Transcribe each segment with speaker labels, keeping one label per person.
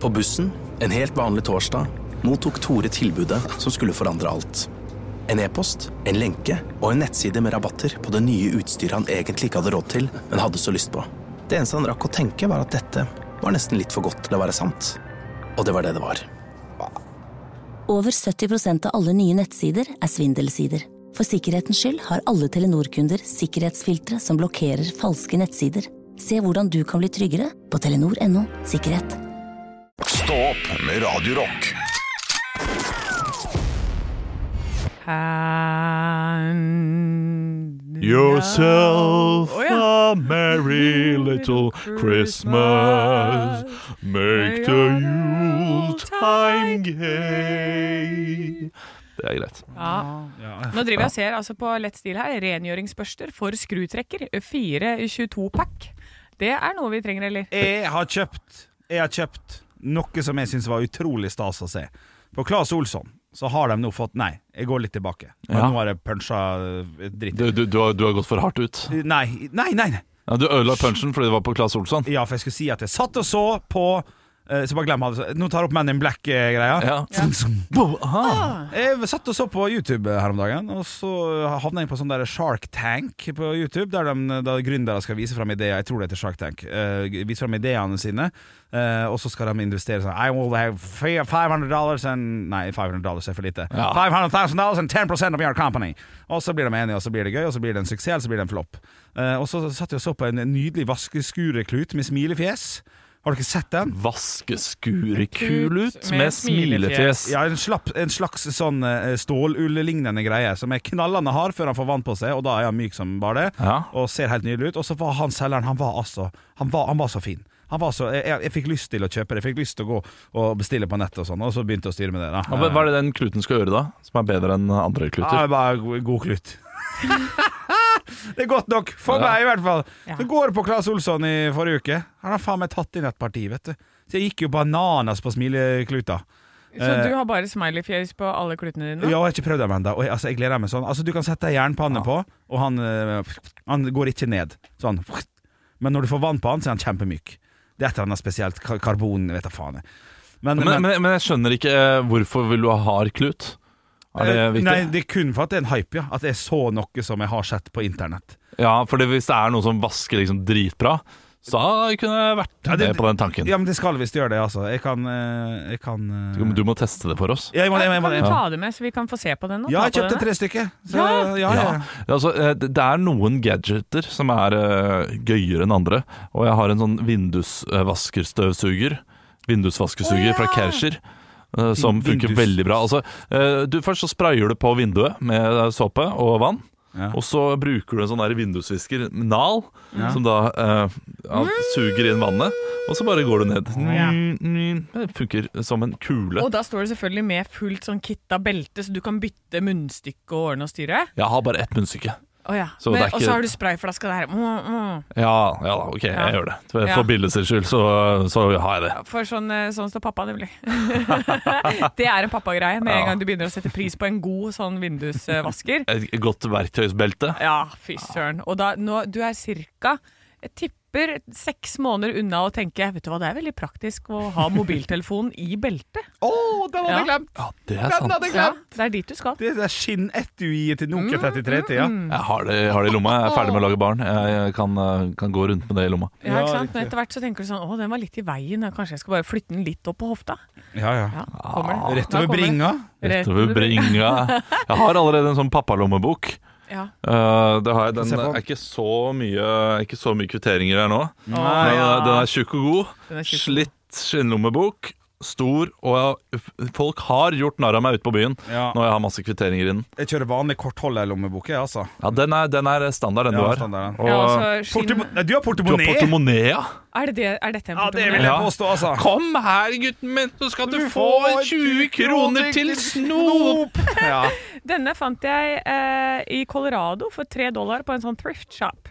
Speaker 1: På bussen, en helt vanlig torsdag, mottok Tore tilbudet som skulle forandre alt. En e-post, en lenke og en nettside med rabatter på det nye utstyret han egentlig ikke hadde råd til, men hadde så lyst på. Det eneste han rakk å tenke, var at dette var nesten litt for godt til å være sant. Og det var det det var.
Speaker 2: Over 70 av alle nye nettsider er svindelsider. For sikkerhetens skyld har alle Telenor-kunder sikkerhetsfiltre som blokkerer falske nettsider. Se hvordan du kan bli tryggere på telenor.no sikkerhet.
Speaker 3: Stå opp med Radio Rock.
Speaker 4: And
Speaker 5: Yourself
Speaker 4: Å, ja.
Speaker 5: a merry little Christmas. Make the yuletime gay. Det er greit.
Speaker 4: Ja. Nå driver jeg og ser altså på lett stil her. Rengjøringsbørster for skrutrekker. 422-pack. Det er noe vi trenger, eller?
Speaker 6: Jeg har kjøpt Jeg har kjøpt noe som jeg syns var utrolig stas å se. På Claes Olsson så har de nå fått Nei, jeg går litt tilbake. Men
Speaker 5: Ja.
Speaker 6: Nå har jeg punsja eh, dritt.
Speaker 5: Du, du, du, har, du har gått for hardt ut.
Speaker 6: Nei, nei, nei! nei.
Speaker 5: Ja, du ødela punchen fordi det var på Claes Olsson.
Speaker 6: Ja, for jeg skulle si at jeg satt og så på eh, så bare glem han. Nå tar jeg opp Man in eh, Black-greia.
Speaker 5: Ja.
Speaker 6: Jeg satt og så på YouTube her om dagen, og så havna jeg inn på sånn der Shark Tank på YouTube, der de, da gründere skal vise fram ideer. Jeg tror det heter Shark Tank. eh, vise fram ideene sine, eh, og så skal de investere sånn I will have fi- 500 dollars and Nei, 500 dollars er for lite.
Speaker 5: Ja.
Speaker 6: 500 000 dollars and 10 of your company. Og så blir de enige, og så blir det gøy, og så blir det en suksess, eller så blir det en flopp. Eh, og så satt jeg og så på en nydelig vaskeskureklut med smilefjes. Har dere sett den?
Speaker 5: Vaskeskurekulut med smilefjes.
Speaker 6: Ja, en, slapp, en slags sånn eh, stålull-lignende greie som er knallende hard før han får vann på seg, og da er han myk som bare det,
Speaker 5: Ja.
Speaker 6: og ser helt nydelig ut. Og så var han selgeren, han var altså Han var, han var så fin. Han var så, jeg, jeg, jeg fikk lyst til å kjøpe det, jeg fikk lyst til å gå og bestille på nettet og sånn, og så begynte jeg å styre med det. da.
Speaker 5: Ja, men Hva er det den kluten skal gjøre, da? Som er bedre enn andre
Speaker 6: Ja,
Speaker 5: kluter?
Speaker 6: det er bare go- god klut. det er godt nok, for
Speaker 5: Ja.
Speaker 6: meg i hvert fall.
Speaker 4: Ja.
Speaker 6: Det går på Claes Olsson i forrige uke. Han har faen meg tatt inn et parti, vet du. Så jeg gikk jo bananas på smilekluta.
Speaker 4: Så du har bare smileyfjes på alle klutene dine?
Speaker 6: Eh, Ja, og jeg har ikke prøvd dem ennå. og jeg- Altså, jeg gleder meg sånn. Altså, du kan sette ei jernpanne på, og han, eh, han går ikke ned. Sånn. Men når du får vann på han, så er han kjempemyk. Det er et eller annet spesielt. Kar karbon, vet da faen. jeg. Men,
Speaker 5: Men, men, men jeg skjønner ikke eh, hvorfor vil du ha hard klut? Er det
Speaker 6: eh,
Speaker 5: viktig?
Speaker 6: Nei, det er kun for at det er en hype, ja. At jeg så noe som jeg har sett på internett.
Speaker 5: Ja, for det, hvis det er noe som vasker liksom dritbra, så kunne jeg vært
Speaker 6: Ja, det-
Speaker 5: med på den tanken.
Speaker 6: Ja, men det skal visst gjøre det, altså. Jeg kan, eh, jeg kan eh,
Speaker 5: Du, du må teste det for oss.
Speaker 6: ja, jeg må, jeg, jeg,
Speaker 4: Kan
Speaker 6: jeg,
Speaker 4: du
Speaker 6: jeg,
Speaker 4: ta det med, så vi kan få se på den? nå?
Speaker 6: ja, jeg
Speaker 4: Ta på
Speaker 6: kjøpte
Speaker 4: den, da?
Speaker 6: tre stykker. Så,
Speaker 4: Ja.
Speaker 6: ja, ja, ja.
Speaker 5: Ja, altså, eh, det det er noen gadgeter som er eh, gøyere enn andre. Og jeg har en sånn vindusvaskerstøvsuger. Vindusvaskesuger
Speaker 4: Å, ja!
Speaker 5: fra Kärcher. eh, Som funker
Speaker 6: Vindus-
Speaker 5: veldig bra. Altså, eh, du, først så sprayer du på vinduet med eh, såpe og vann.
Speaker 6: Ja.
Speaker 5: Og så bruker du en sånn der vindusvisker, nal, som da eh, ja, suger inn vannet. Og så bare går du ned. Mm, Det funker som en kule.
Speaker 4: Og da står det selvfølgelig med fullt sånn kitt av belte, så du kan bytte munnstykke og ordne og styre.
Speaker 5: Jeg har bare ett munnstykke.
Speaker 4: Å ja.
Speaker 5: Så
Speaker 4: Men,
Speaker 5: det er
Speaker 4: Og
Speaker 5: ikke-
Speaker 4: så har du sprayflaska der. Mm, mm.
Speaker 5: Ja, ja da, ok,
Speaker 4: Ja.
Speaker 5: jeg gjør det. For,
Speaker 4: Ja.
Speaker 5: for bildet sin skyld så, så har jeg det.
Speaker 4: For sånn, eh, sånn står pappa, nemlig. det er en pappagreie med
Speaker 5: Ja.
Speaker 4: en gang du begynner å sette pris på en god sånn vindusvasker.
Speaker 5: Et godt verktøysbelte.
Speaker 4: Ja, fy søren. Og da, nå, du er cirka Jeg tipper seks måneder unna å tenke Vet du hva, det er veldig praktisk å ha mobiltelefonen i beltet.
Speaker 6: Å, den hadde jeg
Speaker 4: Ja.
Speaker 6: glemt!
Speaker 5: Ja, det er
Speaker 6: Den
Speaker 5: sant.
Speaker 6: hadde jeg
Speaker 4: Ja, Mm.
Speaker 6: glemt!
Speaker 4: det er dit du skal.
Speaker 6: Det der skinn-etuiet til Nokia 33-tida.
Speaker 5: Jeg har det, jeg har det i lomma. Jeg er ferdig med å lage barn. Jeg jeg kan, eh, kan gå rundt med det i lomma.
Speaker 4: Ja,
Speaker 6: Ja,
Speaker 4: ikke sant?
Speaker 6: riktig.
Speaker 4: Men etter hvert så tenker du sånn Å, den var litt i veien. ja, Kanskje jeg skal bare flytte den litt opp på hofta.
Speaker 6: Ja, ja.
Speaker 4: Ja, kommer det.
Speaker 6: Ah, Rett
Speaker 4: Da
Speaker 6: over
Speaker 4: kommer det.
Speaker 6: bringa.
Speaker 5: Rett over bringa. Jeg har allerede en sånn pappalommebok.
Speaker 4: Ja.
Speaker 5: Eh, det har jeg. Den
Speaker 6: Se på.
Speaker 5: er ikke så mye, ikke så mye kvitteringer her nå.
Speaker 4: Å,
Speaker 5: Den,
Speaker 4: ja.
Speaker 5: er- den er tjukk og god.
Speaker 4: Den er tjukk og god.
Speaker 5: Slitt skinnlommebok. Stor. Og jeg, folk har gjort narr av meg ute på byen
Speaker 6: Ja.
Speaker 5: når jeg har masse kvitteringer i den.
Speaker 6: Jeg kjører vanlig kortholderlommebok, jeg, altså.
Speaker 5: Ja, den er, den er standard, den
Speaker 6: Ja,
Speaker 5: du har.
Speaker 6: standard, ja.
Speaker 5: Og,
Speaker 4: Ja, altså, skinn...
Speaker 6: Portemo Nei, du har
Speaker 5: du har
Speaker 6: portemonee!
Speaker 5: portemonea.
Speaker 4: Er, det det, er dette en
Speaker 6: ja, det
Speaker 4: portemonee?
Speaker 6: vil jeg
Speaker 5: Ja.
Speaker 6: påstå, altså.
Speaker 5: Kom her, gutten min, så skal du få 20 kroner til snop!
Speaker 6: snop! Ja.
Speaker 4: Denne fant jeg eh, i Colorado for tre dollar på en sånn thrift shop.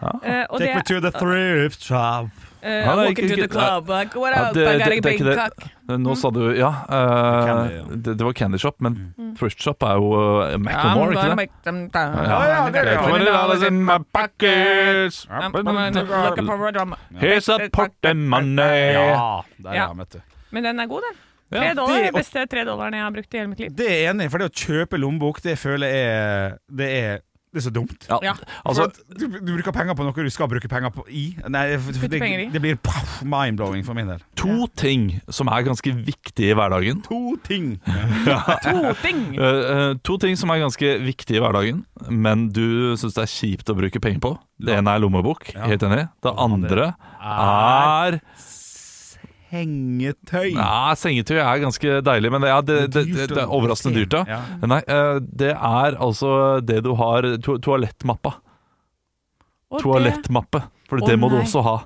Speaker 4: Eh, og det,
Speaker 6: Take me to the thrift shop.
Speaker 4: eh,
Speaker 5: Ja, det er
Speaker 4: walking
Speaker 5: ikke-
Speaker 4: to the
Speaker 5: ikke-
Speaker 4: club, like, what
Speaker 5: Ja,
Speaker 4: up,
Speaker 5: det-
Speaker 4: I got
Speaker 5: det-
Speaker 4: a
Speaker 5: det er
Speaker 4: big
Speaker 5: ikke det.
Speaker 4: cock.
Speaker 5: Nå sa du ja. eh,
Speaker 6: Candy, ja. Mm.
Speaker 5: det, det var Candy Shop, men Thrift Shop er jo uh, Macclemore,
Speaker 4: I'm gonna
Speaker 5: ikke det?
Speaker 4: make them down.
Speaker 5: Ja,
Speaker 6: ja, det er det, ja.
Speaker 4: Twenty dollars
Speaker 5: liksom-
Speaker 4: in my pockets.
Speaker 6: Ja,
Speaker 4: I'm- I'm looking for a drum.
Speaker 5: Here's a portemonnaie.
Speaker 6: Ja, der er
Speaker 4: Ja.
Speaker 6: han, vet du.
Speaker 4: Men den er god, den.
Speaker 5: Ja,
Speaker 4: Tre dollar
Speaker 6: det-
Speaker 4: er de beste tre dollarene jeg har brukt i hele mitt liv.
Speaker 6: Det er jeg enig i, for det å kjøpe lommebok, det føler jeg er Det er, det er så dumt.
Speaker 5: Ja,
Speaker 4: Ja.
Speaker 5: altså,
Speaker 6: for at du, du bruker penger på noe du skal bruke penger på i. Nei, for, for det,
Speaker 4: penger i.
Speaker 6: det blir pow, mind-blowing for min del.
Speaker 5: to ting som er ganske viktige i hverdagen.
Speaker 6: To ting.
Speaker 4: Toting!
Speaker 5: Eh, eh, to ting som er ganske viktige i hverdagen, men du syns det er kjipt å bruke penger på. Det ene er lommebok, helt enig. Det andre er
Speaker 6: Hengetøy.
Speaker 5: Nei, sengetøy er ganske deilig, men det er, det, det, det, det er overraskende dyrt. da
Speaker 6: Ja.
Speaker 5: Nei, eh, det er altså det du har to, Toalettmappa.
Speaker 4: Og det-
Speaker 5: Toalettmappe. For det
Speaker 4: Å,
Speaker 5: må du
Speaker 4: nei.
Speaker 5: også ha.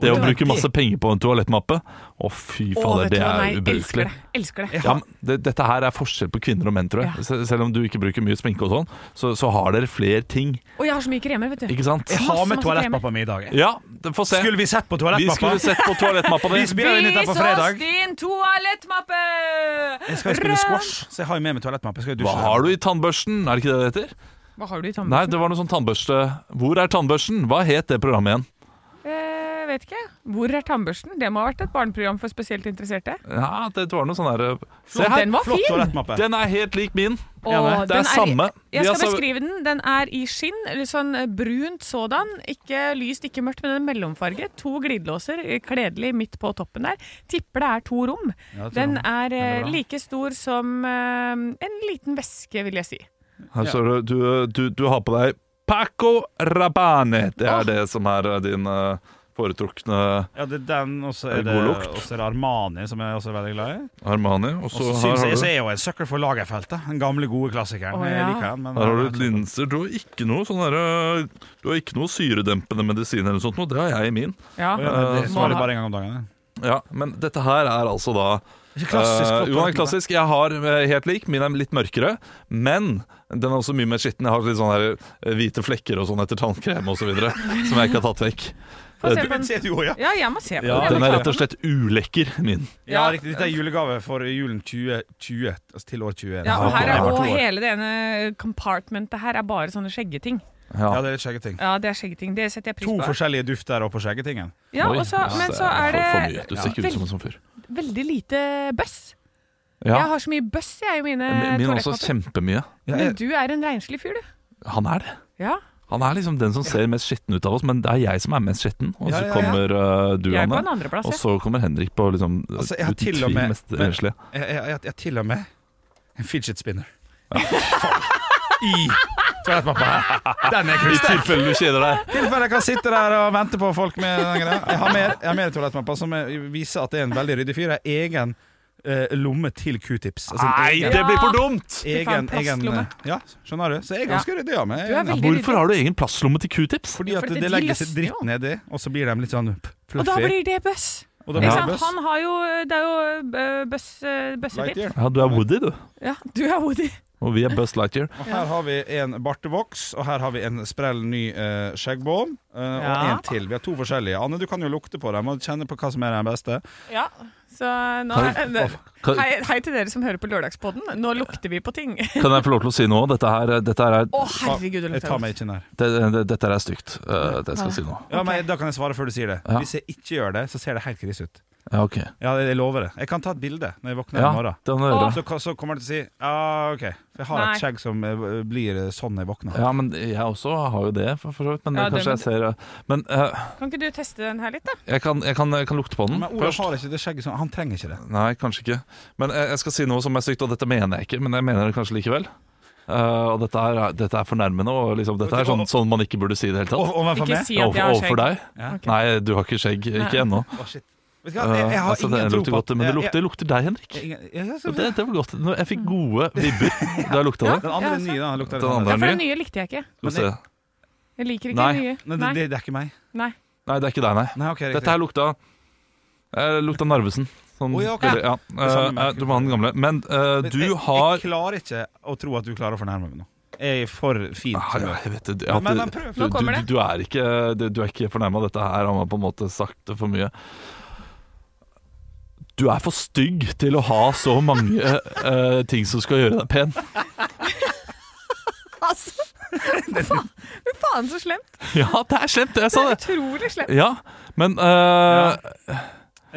Speaker 5: Det å
Speaker 4: det-
Speaker 5: bruke masse penger på en toalettmappe Å, fy
Speaker 4: Å,
Speaker 5: fader,
Speaker 4: vet du
Speaker 5: det
Speaker 4: hva, nei,
Speaker 5: er
Speaker 4: elsker
Speaker 5: ubrukelig.
Speaker 4: det. Elsker det.
Speaker 5: Ja, men det, dette her er forskjell på kvinner og menn, tror jeg.
Speaker 4: Ja.
Speaker 5: Sel- Selv om du ikke bruker mye sminke og sånn, så, så har dere flere ting,
Speaker 4: Og jeg har så mye kremer, vet du.
Speaker 5: ikke sant?
Speaker 6: Jeg har
Speaker 4: Masse,
Speaker 6: med
Speaker 4: masse
Speaker 6: toalettpappa mi i dag. jeg.
Speaker 5: Ja, det- få se.
Speaker 6: Skulle vi sett på
Speaker 5: Vi
Speaker 6: toalettpappa?
Speaker 5: skulle sett på toalettmappa
Speaker 6: Vi
Speaker 5: di.
Speaker 6: spiller jo inn dette på fredag.
Speaker 4: din toalettmappe!
Speaker 6: Jeg skal jo spille squash, så jeg har jo med meg toalettmappe. Jeg skal jo
Speaker 5: Hva
Speaker 6: dusje.
Speaker 5: har du i tannbørsten? Er det ikke det det heter?
Speaker 4: Hva har du i
Speaker 5: Nei,
Speaker 4: tannbørsten?
Speaker 5: det var noe sånn tannbørste Hvor er tannbørsten? Hva het det programmet igjen?
Speaker 4: Eh, vet ikke. Hvor er tannbørsten? Det må ha vært et barneprogram for spesielt interesserte.
Speaker 5: Ja, det var noe sånn der Se
Speaker 4: Flott,
Speaker 5: her!
Speaker 4: den var
Speaker 6: Flott
Speaker 4: fin!
Speaker 6: toalettmappe.
Speaker 5: Den er helt lik min.
Speaker 4: Åh,
Speaker 5: Det er samme.
Speaker 4: Jeg
Speaker 5: Vi
Speaker 4: skal
Speaker 5: har samme-
Speaker 4: beskrive den. Den er i skinn, eller sånn eh, brunt sådan. Ikke lyst, ikke mørkt, men den er mellomfarget. To glidelåser, eh, kledelig midt på toppen der. Tipper det er to rom.
Speaker 6: Ja, det tror jeg.
Speaker 4: Den
Speaker 5: Sånn.
Speaker 4: er eh,
Speaker 6: bra.
Speaker 4: like stor som eh, en liten veske, vil jeg si.
Speaker 5: Her står det du, eh, du, du har på deg Paco Rabanne. Det er
Speaker 4: Åh.
Speaker 5: det som er eh, din eh, foretrukne
Speaker 6: Ja, det er den, og så
Speaker 5: Er
Speaker 6: er
Speaker 5: det
Speaker 6: det,
Speaker 5: god lukt?
Speaker 6: og så er det Armani, som jeg også er veldig glad i.
Speaker 5: Armani. Og
Speaker 6: Og
Speaker 5: så
Speaker 6: så
Speaker 5: her
Speaker 6: syns
Speaker 5: har
Speaker 6: jeg, så
Speaker 5: du
Speaker 6: er jeg jo en sucker for Lagerfeldt, da. Den gamle, gode klassikeren.
Speaker 4: Å,
Speaker 6: Jeg
Speaker 4: ja.
Speaker 6: liker den, men
Speaker 5: her har du et linser. Du har ikke noe sånn herre Du har ikke noe syredempende medisin eller noe sånt. noe. Det har jeg i min.
Speaker 4: Ja.
Speaker 6: Å, ja, men Det
Speaker 5: Eh,
Speaker 6: svarer
Speaker 4: må ha-
Speaker 6: bare en gang om dagen. det.
Speaker 5: Ja, Men dette her er altså da
Speaker 6: Ikke
Speaker 5: Eh,
Speaker 6: klassisk.
Speaker 5: jo, den er klassisk. Jeg har eh, helt lik. Min er litt mørkere, men den er også mye mer skitten. Jeg har litt sånne her, eh, hvite flekker og sånn etter tannkrem osv. som jeg ikke har tatt vekk.
Speaker 4: Få se
Speaker 5: Eh,
Speaker 4: på den.
Speaker 6: Sier du jo, ja.
Speaker 4: Ja, jeg må se på
Speaker 5: Ja,
Speaker 4: den. Jeg
Speaker 5: den
Speaker 4: må
Speaker 5: er
Speaker 4: ta
Speaker 5: rett og slett ulekker, min.
Speaker 6: Ja, riktig. Dette er julegave for julen 2020, altså til år 2021.
Speaker 4: Ja, og her
Speaker 6: Jeg
Speaker 4: er,
Speaker 6: har vært
Speaker 4: og
Speaker 6: to år.
Speaker 4: hele det ene compartmentet her er bare sånne skjeggeting.
Speaker 5: Ja.
Speaker 6: Ja, det er litt skjeggeting.
Speaker 4: Ja, det er skjeggeting. Det setter jeg pris
Speaker 6: To
Speaker 4: på.
Speaker 6: forskjellige dufter oppe på skjeggetingen.
Speaker 4: Ja,
Speaker 5: Oi. altså,
Speaker 4: og så,
Speaker 5: Ja,
Speaker 4: men
Speaker 5: det
Speaker 4: så er
Speaker 5: for, for mye.
Speaker 4: det
Speaker 5: Du ser ikke ut som en sånn fyr.
Speaker 4: veldig lite bøss.
Speaker 5: Ja.
Speaker 4: Jeg har eh, så mye bøss jeg i mine
Speaker 5: Min min også
Speaker 4: toalettmapper.
Speaker 5: kjempemye.
Speaker 4: Men du er en renslig fyr, du.
Speaker 5: Han er det.
Speaker 4: Ja.
Speaker 5: Han er liksom den som ser mest skitten ut av oss, men det er jeg som er mest skitten. Og
Speaker 6: Ja,
Speaker 5: så
Speaker 6: ja, ja.
Speaker 5: kommer eh, du,
Speaker 4: Jeg er på en
Speaker 5: Anne.
Speaker 4: andreplass.
Speaker 5: Og
Speaker 4: jeg.
Speaker 5: så kommer Henrik på liksom
Speaker 6: Altså, jeg har
Speaker 5: uten
Speaker 6: til og
Speaker 5: tvil
Speaker 6: med-
Speaker 5: mest eh,
Speaker 6: men-
Speaker 5: renslige.
Speaker 6: Jeg, jeg, jeg, jeg til og med en fidget spinner. I toalettpappa. Den er
Speaker 5: I
Speaker 6: kul.
Speaker 5: tilfelle du kjeder deg.
Speaker 6: tilfelle jeg kan sitte der og vente på folk med den greia. Jeg har mer, jeg har mer toalettmappa som jeg- viser at det er en veldig ryddig fyr. Jeg har egen eh, lomme til q-tips. Altså,
Speaker 5: Nei,
Speaker 6: egen,
Speaker 5: det blir for dumt!
Speaker 6: egen,
Speaker 4: Fy faen,
Speaker 6: egen eh,
Speaker 4: plastlomme.
Speaker 6: Ja, skjønner du? Så jeg er ganske ryddig av meg.
Speaker 4: Du er veldig
Speaker 5: Hvorfor har du egen plastlomme til q-tips?
Speaker 6: Fordi
Speaker 4: Ja,
Speaker 6: at
Speaker 4: fordi
Speaker 6: det,
Speaker 4: de
Speaker 6: legger seg
Speaker 4: løsner jo.
Speaker 6: dritt nedi, og så blir de litt sånn fluffy.
Speaker 4: Og da blir det bøss.
Speaker 6: Og da
Speaker 5: Ja.
Speaker 4: Ikke
Speaker 6: blir
Speaker 4: sant?
Speaker 6: det
Speaker 4: Han har jo Det er jo eh, bøss, eh, bøssetips.
Speaker 6: Lightyear.
Speaker 5: Ja, du er Woody, du.
Speaker 4: Ja, du er Woody.
Speaker 5: Og vi er Buzz Lightyear.
Speaker 6: Og her har vi en bartevoks, og her har vi en sprell ny eh, skjeggbånd. eh, Og
Speaker 4: Ja.
Speaker 6: en til. Vi har to forskjellige. Anne, du kan jo lukte på dem og kjenne på hva som er den beste.
Speaker 4: Ja, så nå
Speaker 5: Kan- Kan,
Speaker 4: Hei, hei til dere som hører på Lørdagspodden. Nå lukter vi på ting. Å,
Speaker 5: kan jeg få lov til å si noe? Dette her, eh, dette her er,
Speaker 4: herregud, det
Speaker 6: Jeg
Speaker 4: lukter
Speaker 6: tar
Speaker 4: godt.
Speaker 6: meg ikke nær.
Speaker 5: det, det, dette her er stygt. eh, det skal jeg si nå.
Speaker 6: Ja, men Da kan jeg svare før du sier det.
Speaker 5: Ja.
Speaker 6: Hvis jeg ikke gjør det, så ser det helt krise ut.
Speaker 5: Ja, ok.
Speaker 6: Ja, jeg jeg lover det. Jeg kan ta et bilde når jeg våkner
Speaker 5: Ja,
Speaker 6: i morgen.
Speaker 5: det må du gjøre.
Speaker 6: Så, så kommer han til å si ja, OK. For jeg har
Speaker 4: Nei.
Speaker 6: et skjegg som eh, blir eh, sånn når jeg våkner.
Speaker 5: Ja, men jeg også har jo det, for, for så vidt. Men
Speaker 4: Ja, det-
Speaker 5: kanskje jeg ser eh, Men eh,
Speaker 4: Kan ikke du teste den her litt, da?
Speaker 5: jeg, kan, jeg, kan, jeg kan lukte på den
Speaker 6: Men Olav
Speaker 5: først.
Speaker 6: har ikke det skjegget som Han trenger ikke det.
Speaker 5: Nei, kanskje ikke. Men jeg, jeg skal si noe som er stygt, og dette mener jeg ikke, men jeg mener det kanskje likevel. Eh, og dette er, dette er fornærmende, og liksom, dette er sånn, sånn man ikke burde si i det hele tatt.
Speaker 6: O- Overfor
Speaker 4: Ikke
Speaker 6: meg.
Speaker 4: si at jeg har skjegg.
Speaker 5: Overfor deg?
Speaker 6: Ja.
Speaker 4: Ok.
Speaker 5: Nei, du har ikke skjegg. Ikke ennå.
Speaker 6: Å, shit. Vet du hva, jeg, jeg
Speaker 5: Eh,
Speaker 6: har
Speaker 5: altså, det
Speaker 6: ingen tro
Speaker 5: lukter
Speaker 6: på
Speaker 5: godt, men det
Speaker 6: jeg-
Speaker 5: lukter, lukter deg, Henrik.
Speaker 6: jeg- jeg- jeg- jeg-
Speaker 5: Og Det, det var godt. Nå- Jeg
Speaker 6: Mm.
Speaker 5: fikk gode vibber da jeg lukta det.
Speaker 6: Den andre
Speaker 4: Ja,
Speaker 6: nye, den lukter litt
Speaker 5: Den
Speaker 6: annerledes.
Speaker 4: Ja,
Speaker 5: andre. er
Speaker 4: for den
Speaker 5: ny.
Speaker 4: nye likte jeg ikke.
Speaker 5: Skal vi se.
Speaker 4: Jeg liker ikke
Speaker 5: Nei.
Speaker 4: den nye.
Speaker 6: Nei, det,
Speaker 4: Nei.
Speaker 6: det, det er ikke meg.
Speaker 4: Nei.
Speaker 5: Nei, det er ikke deg, nei.
Speaker 6: Nei, ok, riktig.
Speaker 5: Dette her lukta eh, Lukta Narvesen. Sånn,
Speaker 6: Å, ja, ok.
Speaker 5: veldig- ja.
Speaker 6: samme
Speaker 5: Eh,
Speaker 6: merke.
Speaker 5: du må ha den gamle. Men eh,
Speaker 6: Men
Speaker 5: du
Speaker 6: jeg,
Speaker 5: har
Speaker 6: Jeg klarer ikke å tro at du klarer å fornærme meg nå. Jeg er for fin.
Speaker 5: Ah,
Speaker 6: som
Speaker 5: ja,
Speaker 6: jeg er.
Speaker 5: jeg vet det. Ja, det-
Speaker 6: Men- men prøv.
Speaker 5: du,
Speaker 4: Nå kommer
Speaker 5: du, du, du er ikke, du, du er ikke fornærma. Dette her han har på en måte sagt det for mye. Du er for stygg til å ha så mange eh, ting som skal gjøre deg pen.
Speaker 4: Altså, faen, faen så slemt.
Speaker 5: Ja, det er slemt, det. Jeg sa det.
Speaker 4: Utrolig slemt.
Speaker 5: Ja, men eh,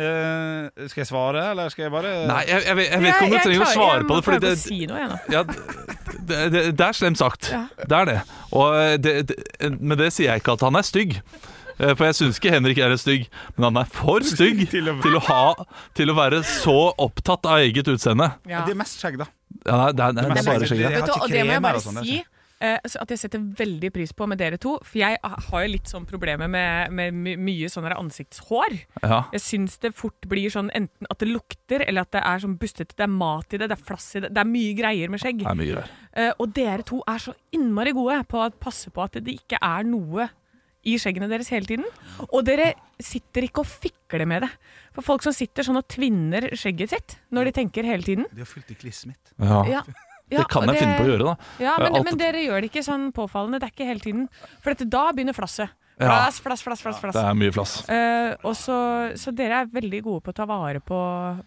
Speaker 6: Eh, skal jeg svare, eller skal jeg bare
Speaker 5: Nei, jeg, jeg, vet- jeg vet ikke om du trenger å svare på det. Fordi det,
Speaker 4: Jeg må prøve å si noe, jeg nå.
Speaker 5: ja, det, det, det er slemt sagt.
Speaker 4: Ja.
Speaker 5: Det er det. Og eh, det, det. Men det sier jeg ikke at han er stygg. Eh, For jeg syns ikke Henrik er stygg, men han er for stygg til å, ha, til å være så opptatt av eget utseende.
Speaker 4: Ja.
Speaker 6: Det er mest skjegg, da.
Speaker 5: Ja, nei, det, er- det,
Speaker 6: Men
Speaker 5: er bare
Speaker 6: jeg-
Speaker 5: skjegget.
Speaker 6: har
Speaker 4: Vet du,
Speaker 6: ikke
Speaker 4: og det må jeg
Speaker 6: kremer
Speaker 4: bare
Speaker 6: og sånn,
Speaker 4: si
Speaker 6: jeg
Speaker 4: eh, så at jeg setter veldig pris på med dere to. For jeg har jo litt sånn problemer med, med my- mye sånn her ansiktshår.
Speaker 5: Ja.
Speaker 4: Jeg syns det fort blir sånn enten at det lukter, eller at det er sånn bustete. Det er mat i det, det er flass i det. Det er mye greier med skjegg.
Speaker 5: Det er mye greier.
Speaker 4: Eh, og dere to er så innmari gode på å passe på at det ikke er noe i skjeggene deres hele tiden. Og dere sitter ikke og fikler med det. For folk som sitter sånn og tvinner skjegget sitt når de tenker hele tiden
Speaker 6: De har fylt i kliss mitt.
Speaker 5: Ja.
Speaker 4: Ja.
Speaker 5: Det kan jeg finne på å gjøre, da.
Speaker 4: Ja, men,
Speaker 5: Alt-
Speaker 4: men dere gjør det ikke sånn påfallende. Det er ikke hele tiden. For dette, da begynner flasset.
Speaker 5: Ja.
Speaker 4: Flass, flass, flass, flass. flass.
Speaker 5: Det er mye flass.
Speaker 4: Eh, og så, så dere er veldig gode på å ta vare på,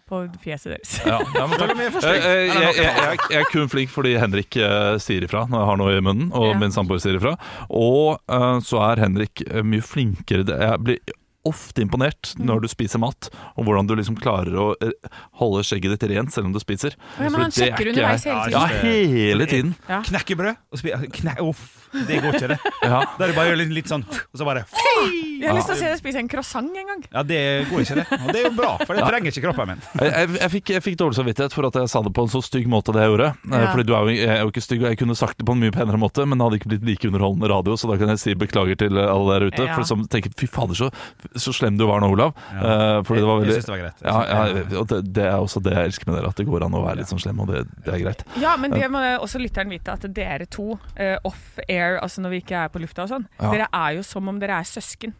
Speaker 4: på fjeset deres.
Speaker 5: Ja, ja, men takk. Eh, eh, Jeg, jeg, jeg, jeg er kun flink fordi Henrik eh, sier ifra når jeg har noe i munnen, og
Speaker 4: Ja.
Speaker 5: min samboer sier ifra. Og eh, så er Henrik eh, mye flinkere. Det- Jeg blir ofte imponert
Speaker 4: Mm.
Speaker 5: når du spiser mat, og hvordan du liksom klarer å eh, holde skjegget ditt rent selv om du spiser.
Speaker 4: Ja, men
Speaker 5: For
Speaker 4: han
Speaker 5: det er
Speaker 4: sjekker
Speaker 5: ikke
Speaker 4: underveis
Speaker 5: jeg.
Speaker 4: hele
Speaker 5: Ja,
Speaker 4: tiden.
Speaker 5: hele tiden.
Speaker 4: Ja.
Speaker 6: Knekkebrød og spi... eh, Kne... Uff, det går ikke, det.
Speaker 5: Ja.
Speaker 6: Da er det bare å gjøre litt, litt sånn, og så bare
Speaker 4: Jeg har lyst til å se deg spise en croissant en gang.
Speaker 6: Ja, det går ikke, det. Og det er jo bra, for det trenger ikke kroppen min.
Speaker 5: Jeg, jeg, jeg, fikk, jeg fikk dårlig samvittighet for at jeg sa det på en så stygg måte det jeg gjorde. Eh,
Speaker 4: Ja.
Speaker 5: Fordi du er jo, jeg er jo ikke stygg, og jeg kunne sagt det på en mye penere måte, men det hadde ikke blitt like underholdende radio, så da kan jeg si beklager til alle der ute.
Speaker 4: Ja.
Speaker 5: For som tenker fy fader, så, så slem du var nå, Olav. Eh, fordi det var
Speaker 6: Jeg-
Speaker 5: veldig
Speaker 6: jeg synes det var greit.
Speaker 5: Ja, ja, og det, det er også det jeg elsker med dere, at det går an å være litt sånn slem, og det, det er greit.
Speaker 4: Ja, men det må også lytteren vite, at dere to eh, off air, altså når vi ikke er på lufta og sånn,
Speaker 5: Ja.
Speaker 4: dere er jo som om dere er søsken.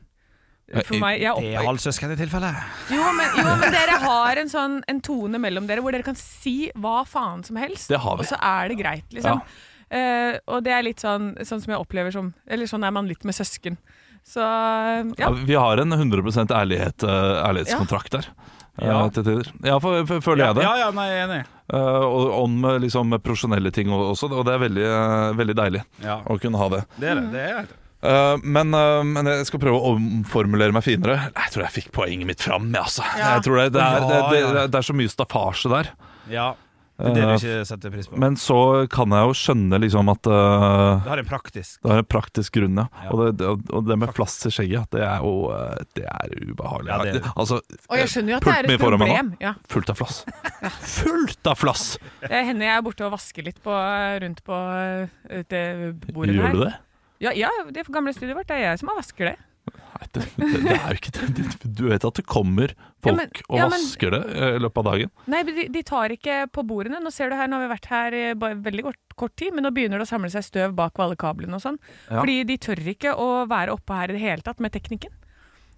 Speaker 4: For
Speaker 5: Eh,
Speaker 4: meg, jeg
Speaker 6: Det
Speaker 4: opp...
Speaker 6: er halvsøsken i tilfellet.
Speaker 4: jo, men, jo, men dere har en sånn en tone mellom dere hvor dere kan si hva faen som helst,
Speaker 5: Det har vi.
Speaker 4: og så er det greit, liksom.
Speaker 5: Ja.
Speaker 4: Eh, og det er litt sånn, sånn som jeg opplever som Eller sånn er man litt med søsken. Så ja.
Speaker 5: Ja, vi har en 100 ærlighet, eh, ærlighetskontrakt der. eh,
Speaker 6: Ja.
Speaker 5: Til tider. Ja, for, for, føler jeg det.
Speaker 6: Ja, ja, nei, jeg er enig.
Speaker 5: Eh, og om eh, liksom, profesjonelle ting også, og det er veldig, eh, veldig deilig
Speaker 6: Ja,
Speaker 5: å kunne ha det.
Speaker 6: det er det. det er det.
Speaker 5: Eh, men, eh, men jeg skal prøve å omformulere meg finere. Jeg tror jeg fikk poenget mitt fram. jeg, Altså. Jeg tror det, det, er, det,
Speaker 6: Ja,
Speaker 5: det,
Speaker 6: ja.
Speaker 5: det, er- det er så mye staffasje der.
Speaker 6: Ja. Det er det du ikke setter pris på.
Speaker 5: Eh, Men så kan jeg jo skjønne liksom at eh,
Speaker 6: Det har en praktisk
Speaker 5: det er en praktisk grunn, ja.
Speaker 6: Ja.
Speaker 5: Og, det, det, og det med flass i skjegget, det er jo eh, Det er ubehagelig.
Speaker 6: Ja, det er det.
Speaker 5: Altså,
Speaker 4: Og jeg skjønner jo at det
Speaker 5: pult
Speaker 4: er
Speaker 5: meg
Speaker 4: et
Speaker 5: foran meg nå.
Speaker 4: problem. Ja.
Speaker 5: Fullt av flass. Fullt av flass!
Speaker 4: Det hender jeg er borte og vasker litt på, rundt på eh, det bordet
Speaker 5: Gjør
Speaker 4: her.
Speaker 5: du det?
Speaker 4: Ja, ja, det gamle studioet vårt. Det er jeg som har vasker det.
Speaker 5: Nei, det, det, det er jo ikke det. Du vet at det kommer
Speaker 4: Ja,
Speaker 5: folk
Speaker 4: men-
Speaker 5: og
Speaker 4: ja, men-
Speaker 5: vasker det eh, i løpet av dagen.
Speaker 4: Nei, men de, de tar ikke på bordene. Nå ser du her, nå har vi vært her eh, bare veldig kort, kort tid, men nå begynner det å samle seg støv bak alle kablene og sånn.
Speaker 5: Ja.
Speaker 4: Fordi de tør ikke å være oppe her i det hele tatt med teknikken.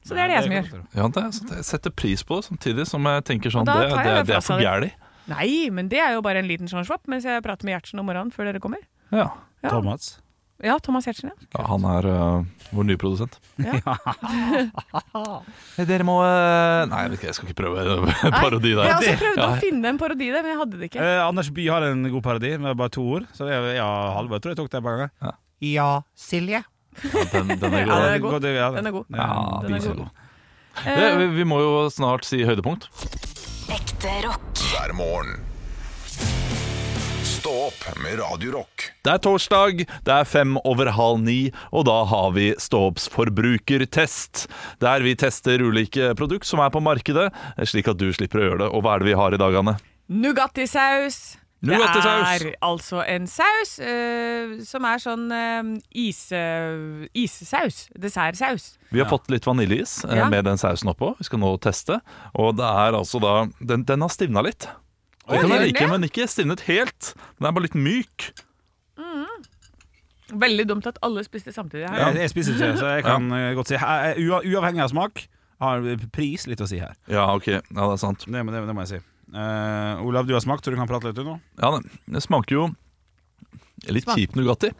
Speaker 4: Så det er det jeg som gjør.
Speaker 5: Ja, det, så jeg setter pris på det, samtidig som jeg tenker sånn
Speaker 4: Og da
Speaker 5: Det,
Speaker 4: tar jeg
Speaker 5: det,
Speaker 4: den
Speaker 5: det er
Speaker 4: flassa
Speaker 5: for
Speaker 4: di.
Speaker 5: gæli.
Speaker 4: Nei, men det er jo bare en liten sånn svapp mens jeg prater med Gjertsen om morgenen før dere kommer.
Speaker 5: Ja.
Speaker 4: Ja.
Speaker 6: Thomas.
Speaker 4: Ja, Thomas Gjertsen, ja.
Speaker 5: Ja, han er øh, vår nye produsent.
Speaker 4: Ja.
Speaker 5: Dere må øh, Nei, jeg, vet ikke, jeg skal ikke prøve
Speaker 4: Nei,
Speaker 5: parodi
Speaker 4: Jeg
Speaker 5: der.
Speaker 4: har også prøvd
Speaker 5: Ja.
Speaker 4: å finne en parodi der, men jeg hadde det ikke.
Speaker 6: Eh, Anders Bye har en god parodi med bare to ord. Så jeg, ja, Halvor tror jeg tok det et par ganger.
Speaker 7: Ja, Silje.
Speaker 5: Ja, den, den er
Speaker 4: Ja,
Speaker 5: god.
Speaker 4: den er
Speaker 6: det
Speaker 4: god.
Speaker 6: går- det- ja, det-
Speaker 4: Den er god.
Speaker 5: Ja,
Speaker 6: Ja.
Speaker 4: er
Speaker 5: den er
Speaker 4: god. Eh.
Speaker 5: god. Det, vi, vi må jo snart si høydepunkt.
Speaker 2: Ekte rock.
Speaker 3: hver morgen. Stå opp med Radio Rock.
Speaker 5: Det er torsdag, det er fem over halv ni, og da har vi Ståops forbrukertest. Der vi tester ulike produkt som er på markedet, slik at du slipper å gjøre det. Og hva er det vi har i dag, Anne?
Speaker 4: Nougattisaus. Det
Speaker 5: Nougattisaus.
Speaker 4: er altså en saus eh, som er sånn eh, ise, isesaus. Dessertsaus.
Speaker 5: Vi har fått litt vaniljeis eh,
Speaker 4: Ja.
Speaker 5: med den sausen oppå. Vi skal nå teste. Og det er altså da Den, den har stivna litt. Det
Speaker 4: Oi,
Speaker 5: kan
Speaker 4: gjør den
Speaker 5: jeg like,
Speaker 4: det?
Speaker 5: men ikke stivnet helt. Den er bare litt myk.
Speaker 4: Veldig dumt at alle spiste samtidig her.
Speaker 6: Jeg, jeg spiser ikke, så jeg kan eh, godt si eh, ua- Uavhengig av smak har pris litt å si her.
Speaker 5: Ja, ok. Ja, det er sant.
Speaker 6: Det, må- det, det må jeg si. Eh, Olav, du har smakt, så du kan prate litt du nå?
Speaker 5: Ja, det, det smaker jo litt
Speaker 4: Smak-
Speaker 5: kjip Nugatti.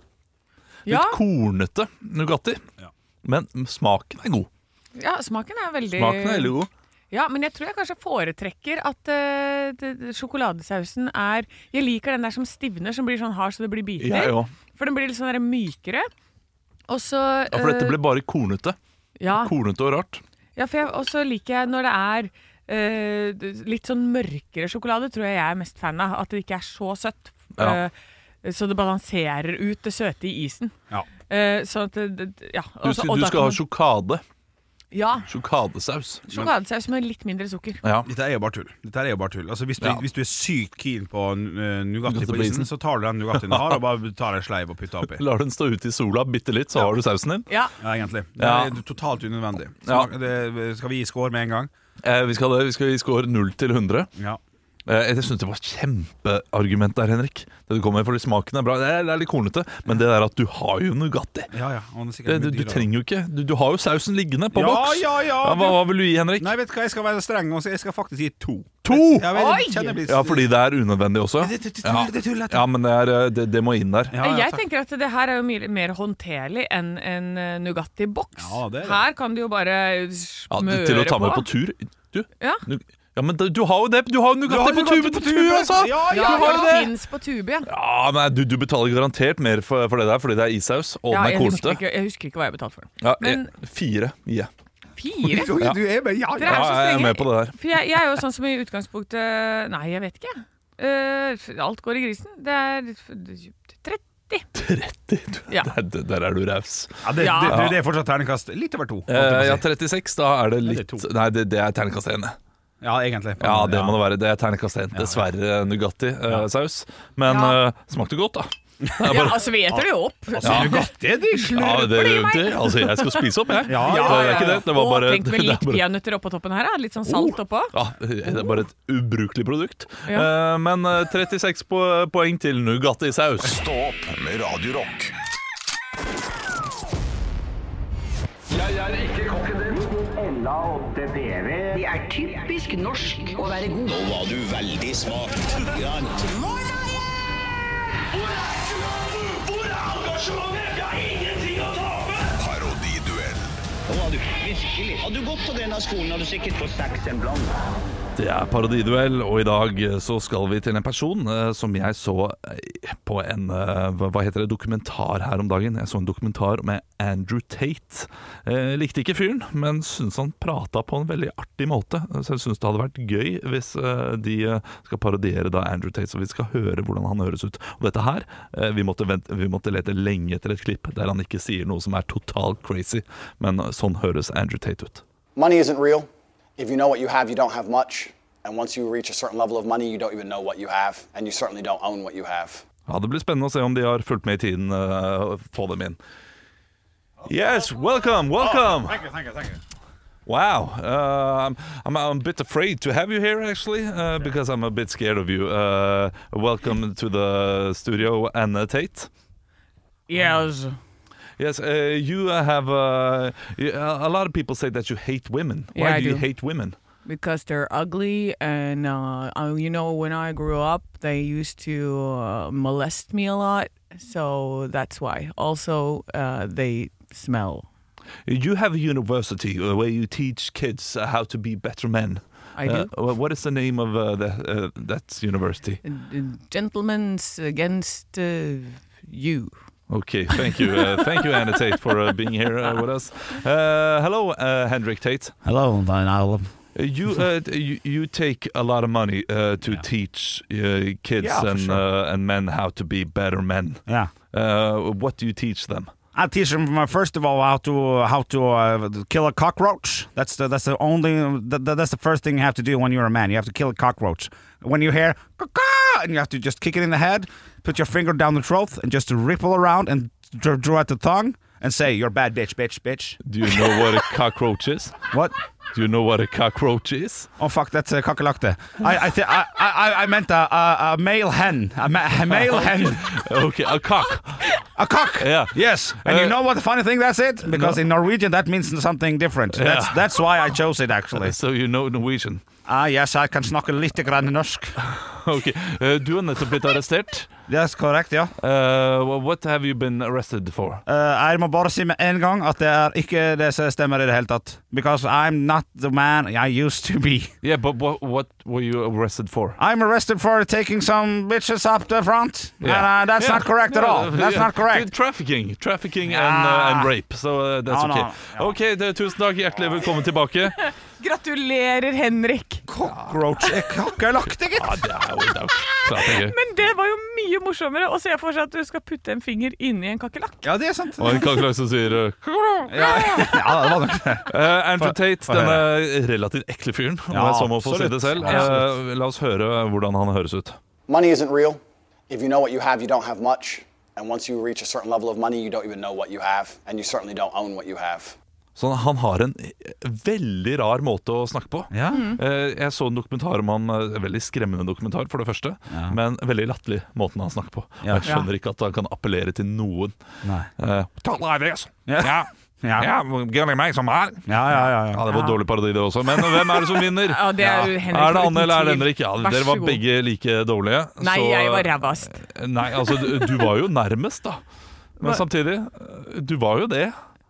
Speaker 4: Ja,
Speaker 5: Litt kornete Nugatti.
Speaker 6: Ja.
Speaker 5: Men smaken er god.
Speaker 4: ja, smaken er veldig
Speaker 5: Smaken er veldig god.
Speaker 4: Ja, men jeg tror jeg kanskje foretrekker at eh, det- det- sjokoladesausen er Jeg liker den der som stivner, som blir sånn hard så det blir biter.
Speaker 5: Jeg òg.
Speaker 4: For den blir litt sånn der mykere. Og så
Speaker 5: Ja, for dette
Speaker 4: eh,
Speaker 5: ble bare kornete.
Speaker 4: ja.
Speaker 5: Kornete og rart.
Speaker 4: Ja, for jeg også liker jeg når det er eh, litt sånn mørkere sjokolade tror jeg jeg er mest fan av. At det ikke er så søtt.
Speaker 5: Ja.
Speaker 4: Eh, så det balanserer ut det søte i isen.
Speaker 6: Ja.
Speaker 4: Eh, sånn at det, det- ja.
Speaker 5: Du,
Speaker 4: Også-
Speaker 5: skal-
Speaker 4: og
Speaker 5: du
Speaker 4: da kan
Speaker 5: skal ha
Speaker 4: man-
Speaker 5: sjokade.
Speaker 4: Ja.
Speaker 5: Sjokadesaus.
Speaker 4: Sjokoladesaus med litt mindre sukker.
Speaker 5: Ja.
Speaker 6: Dette er jo bare tull. Dette er jo bare tull. Altså, hvis, du,
Speaker 5: Ja.
Speaker 6: hvis du er sykt keen på eh, Nugatti
Speaker 5: Nugatti
Speaker 6: på
Speaker 5: på
Speaker 6: isen,
Speaker 5: isen.
Speaker 6: så tar du den Nugattien du har, og bare tar en sleiv og putter oppi.
Speaker 5: Lar den stå ute i sola bitte litt, så har du sausen din.
Speaker 4: Ja,
Speaker 6: Ja, egentlig. Det
Speaker 5: Ja.
Speaker 6: er totalt unødvendig.
Speaker 5: Ja.
Speaker 6: Smak, det, skal vi gi score med en gang?
Speaker 5: Eh, vi skal, vi skal score 0 til 100.
Speaker 6: Ja.
Speaker 5: Eh, Jeg syns det var et kjempeargument der, Henrik. Det du kom med, fordi Smaken er bra. Det er, det er litt kornete, men det der at du har jo Nugatti
Speaker 6: Ja, ja. og den er sikkert
Speaker 5: det, du,
Speaker 6: mye
Speaker 5: du
Speaker 6: dyrere.
Speaker 5: trenger jo ikke Du, du har jo sausen liggende på
Speaker 6: Ja,
Speaker 5: boks.
Speaker 6: ja, ja,
Speaker 5: hva,
Speaker 6: du-
Speaker 5: hva vil du gi, Henrik?
Speaker 6: Nei, vet du hva, jeg skal være streng, og så jeg skal faktisk gi to.
Speaker 5: to!
Speaker 6: Jeg vet,
Speaker 4: Oi!
Speaker 6: jeg kjenner jeg blir-
Speaker 5: Ja, fordi det er unødvendig også.
Speaker 6: Det- det- det-
Speaker 5: Ja.
Speaker 6: det- det er tullete.
Speaker 5: Ja, men det, er, eh, det, det må inn der.
Speaker 6: Ja, ja,
Speaker 4: jeg
Speaker 6: takk.
Speaker 4: tenker at det her er jo mye mer håndterlig enn en eh, Nugatti-boks.
Speaker 6: Ja, det er det.
Speaker 4: Her kan du jo bare
Speaker 5: Ja,
Speaker 4: smøre
Speaker 5: til å ta med på tur. Du,
Speaker 4: Ja.
Speaker 5: nu- ja men da- du har jo det! Du har jo Nugatti
Speaker 6: Du
Speaker 5: på
Speaker 6: har
Speaker 5: tube til
Speaker 6: Nugatti på
Speaker 5: tur,
Speaker 6: tube.
Speaker 5: altså!
Speaker 6: Ja,
Speaker 4: Ja,
Speaker 5: du
Speaker 4: det
Speaker 5: har det!
Speaker 4: fins på tube, ja.
Speaker 5: Ja, nei, du, du betaler garantert mer for, for det der, fordi det er issaus, og
Speaker 4: ja
Speaker 5: den er
Speaker 4: jeg, husker
Speaker 5: kornete.
Speaker 4: ikke, jeg husker ikke hva jeg betalte for den.
Speaker 5: Ja,
Speaker 4: Men-
Speaker 5: jeg- fire. Ja.
Speaker 4: Fire?
Speaker 6: Du, du er med, ja,
Speaker 4: Dere er så
Speaker 5: Ja, jeg er
Speaker 4: strenge.
Speaker 5: med på det der.
Speaker 4: For jeg, jeg er jo sånn som i utgangspunktet Nei, jeg vet ikke. jeg. Eh, alt går i grisen. Det er 30.
Speaker 5: 30. Du,
Speaker 4: Ja.
Speaker 5: der, der er du raus.
Speaker 6: Ja, det,
Speaker 4: Ja.
Speaker 6: det, du, det er fortsatt terningkast litt over to. holdt jeg på å
Speaker 5: Eh,
Speaker 6: si.
Speaker 5: ja, 36. Da er det
Speaker 6: det er
Speaker 5: litt
Speaker 6: to.
Speaker 5: Nei, det, det er terningkast 1.
Speaker 6: ja, egentlig.
Speaker 5: Ja, det må det være. Det er terningkast 1. Dessverre Nugatti-saus. Men
Speaker 4: Ja.
Speaker 5: eh, smakte godt, da.
Speaker 4: Ja, altså, vi eter det jo opp.
Speaker 6: Altså, Nugatti er digg.
Speaker 5: Ja, det,
Speaker 4: i meg.
Speaker 5: det, altså, jeg skal spise opp, jeg.
Speaker 6: Ja,
Speaker 5: det,
Speaker 6: ja,
Speaker 5: er ikke det. Det var bare
Speaker 4: Og tenk med
Speaker 5: det er
Speaker 4: litt
Speaker 5: bare- Oh.
Speaker 4: peanøtter oppå toppen her. da. Litt sånn salt oppå.
Speaker 5: Ja, det er bare et ubrukelig produkt.
Speaker 4: Ja.
Speaker 5: Eh, men eh, 36 po poeng til Nugatti-saus.
Speaker 3: Stå opp med Radio Rock.
Speaker 7: Det er typisk norsk å være god.
Speaker 8: Nå var du veldig smart.
Speaker 3: Parodiduell.
Speaker 8: Nå var du virkelig. Hadde du gått på denne skolen, hadde du sikkert fått seks en blank.
Speaker 5: Det er parodiduell, og i dag eh, så skal vi til en person eh, som jeg så eh, på en eh, hva hva heter det, dokumentar her om dagen. Jeg så en dokumentar med Andrew Tate. Eh, likte ikke fyren, men syntes han prata på en veldig artig måte. Eh, Så jeg syns det hadde vært gøy hvis eh, de eh, skal parodiere da Andrew Tate, så vi skal høre hvordan han høres ut. Og dette her, eh, vi måtte, vente, vi måtte lete lenge etter et klipp der han ikke sier noe som er totalt crazy, men eh, sånn høres Andrew Tate ut.
Speaker 9: Money isn't real. If you know what you have, you don't have much. And once you reach a certain level of money, you don't even know what you have. And you certainly don't own what you have.
Speaker 5: Ja, Det blir spennende å se om de har fulgt med i tiden eh, og få dem inn. Yes, welcome, welcome.
Speaker 6: Thank you, thank you, thank you.
Speaker 5: Wow, uh, I'm, I'm a bit afraid to have you here actually, uh, because I'm a bit scared of you. Uh, welcome to the studio, Anna Tate.
Speaker 4: Yes.
Speaker 5: Yes, uh, you uh, have uh, you, a lot of people say that you hate women. Why
Speaker 4: Yeah, I
Speaker 5: do you
Speaker 4: do.
Speaker 5: hate women?
Speaker 4: Because they're ugly, and uh, uh, you know, when I grew up, they used to uh, molest me a lot, so that's why. Also, uh, they smell.
Speaker 5: You have a university uh, where you teach kids uh, how to be better men.
Speaker 4: I do.
Speaker 5: Uh, what is the name of uh, the, uh, that university?
Speaker 4: Gentlemen's against uh, you.
Speaker 5: Okay, thank you. Uh, thank you, Anna Tate, for uh, being here uh, with us. Uh, hello, uh, Hendrik Tate.
Speaker 10: Hello, Van Allen.
Speaker 5: Uh, You, uh, d- you you take a lot of money uh, to teach uh, kids
Speaker 10: Yeah, for
Speaker 5: and
Speaker 10: sure.
Speaker 5: uh, and men how to be better men.
Speaker 10: Yeah.
Speaker 5: Uh, what do you teach them?
Speaker 10: I teach them uh, first of all how to how to uh, kill a cockroach. That's the that's the only that, that- that's the first thing you have to do when you're a man. You have to kill a cockroach. When you hear caw and you have to just kick it in the head, put your finger down the throat, and just ripple around and dr- draw out the tongue and say you're a bad bitch, bitch, bitch.
Speaker 5: Do you know what a cockroach is?
Speaker 10: What?
Speaker 5: Do you know what a cockroach is?
Speaker 10: Oh fuck, that's a kakalakte. I I, th- I I I meant a, a, a male hen, a, ma- a male hen,
Speaker 5: Okay, a cock.
Speaker 10: a cock.
Speaker 5: Yeah.
Speaker 10: Yes, and
Speaker 5: Uh,
Speaker 10: you know what the funny thing that's it because in Norwegian that means something different. That's that's why I chose it actually.
Speaker 5: So you know Norwegian.
Speaker 10: Ah yes, I can snakke litt grann norsk.
Speaker 5: Okay. Uh, du har nettopp blitt arrestert.
Speaker 10: Yes, korrekt, ja.
Speaker 5: Uh, wh- what have you been arrested for?
Speaker 10: Eh, jeg må bare si med en gang at det er ikke det som stemmer i det hele tatt. Because I'm not the man I used to be.
Speaker 5: Yeah, but what what were you arrested for?
Speaker 10: I'm arrested for taking some bitches up the front.
Speaker 5: Yeah.
Speaker 10: And uh, that's
Speaker 5: Yeah.
Speaker 10: not correct at
Speaker 5: Yeah,
Speaker 10: all. That's
Speaker 5: yeah.
Speaker 10: not correct.
Speaker 5: Trafficking trafficking
Speaker 10: Ja.
Speaker 5: and, uh, and rape. So uh, that's
Speaker 10: Ja,
Speaker 5: okay.
Speaker 10: da. Ja.
Speaker 5: Ok, det, Tusen takk. Hjertelig velkommen tilbake.
Speaker 4: Gratulerer, Henrik!
Speaker 10: cockroach er kakerlakk, gitt!
Speaker 5: Ja, det er jo, det er jo klart det er gøy.
Speaker 4: Men det var jo mye morsommere å se for seg at du skal putte en finger inni en kakerlakk.
Speaker 10: Ja, det er sant.
Speaker 5: Og en kakerlakk som sier eh,
Speaker 10: Ja, ja, det var nok det.
Speaker 5: Eh, Andrew
Speaker 10: Få-
Speaker 5: Tate,
Speaker 10: få
Speaker 5: denne relativt ekle fyren, om
Speaker 10: Ja,
Speaker 5: jeg så må få si
Speaker 10: absolutt.
Speaker 5: det selv. Eh,
Speaker 10: Absolutt.
Speaker 5: La oss høre hvordan han høres ut.
Speaker 9: Money isn't real. If you know what you have, you don't have much. And once you reach a certain level of money, you don't even know what you have, and you certainly don't own what you have.
Speaker 5: Så Sånn, han har en veldig rar måte å snakke på.
Speaker 10: Ja.
Speaker 4: Mm.
Speaker 5: Eh, Jeg så en dokumentar om han, eh, veldig skremmende dokumentar, for det første. Men veldig latterlig måten han snakker på.
Speaker 10: Ja.
Speaker 5: Jeg skjønner ikke at han kan appellere til noen.
Speaker 10: Nei.
Speaker 5: Eh, Talk like this.
Speaker 10: Ja.
Speaker 5: Ja.
Speaker 10: Ja.
Speaker 5: Ja, gønn i meg som er.
Speaker 10: Ja, ja, ja.
Speaker 5: Ja, det var dårlig parodi, det også. Men hvem er det som vinner?
Speaker 4: Ja, det er jo Henrik,
Speaker 5: Er det Anne
Speaker 4: uten
Speaker 5: eller er det
Speaker 4: tvil.
Speaker 5: Henrik? Ja,
Speaker 4: Vær
Speaker 5: dere
Speaker 4: så
Speaker 5: var
Speaker 4: god.
Speaker 5: begge like dårlige.
Speaker 4: Nei,
Speaker 5: så-
Speaker 4: jeg var rævast.
Speaker 5: Nei, altså, du, du var jo nærmest, da. Men samtidig, eh, du var jo det,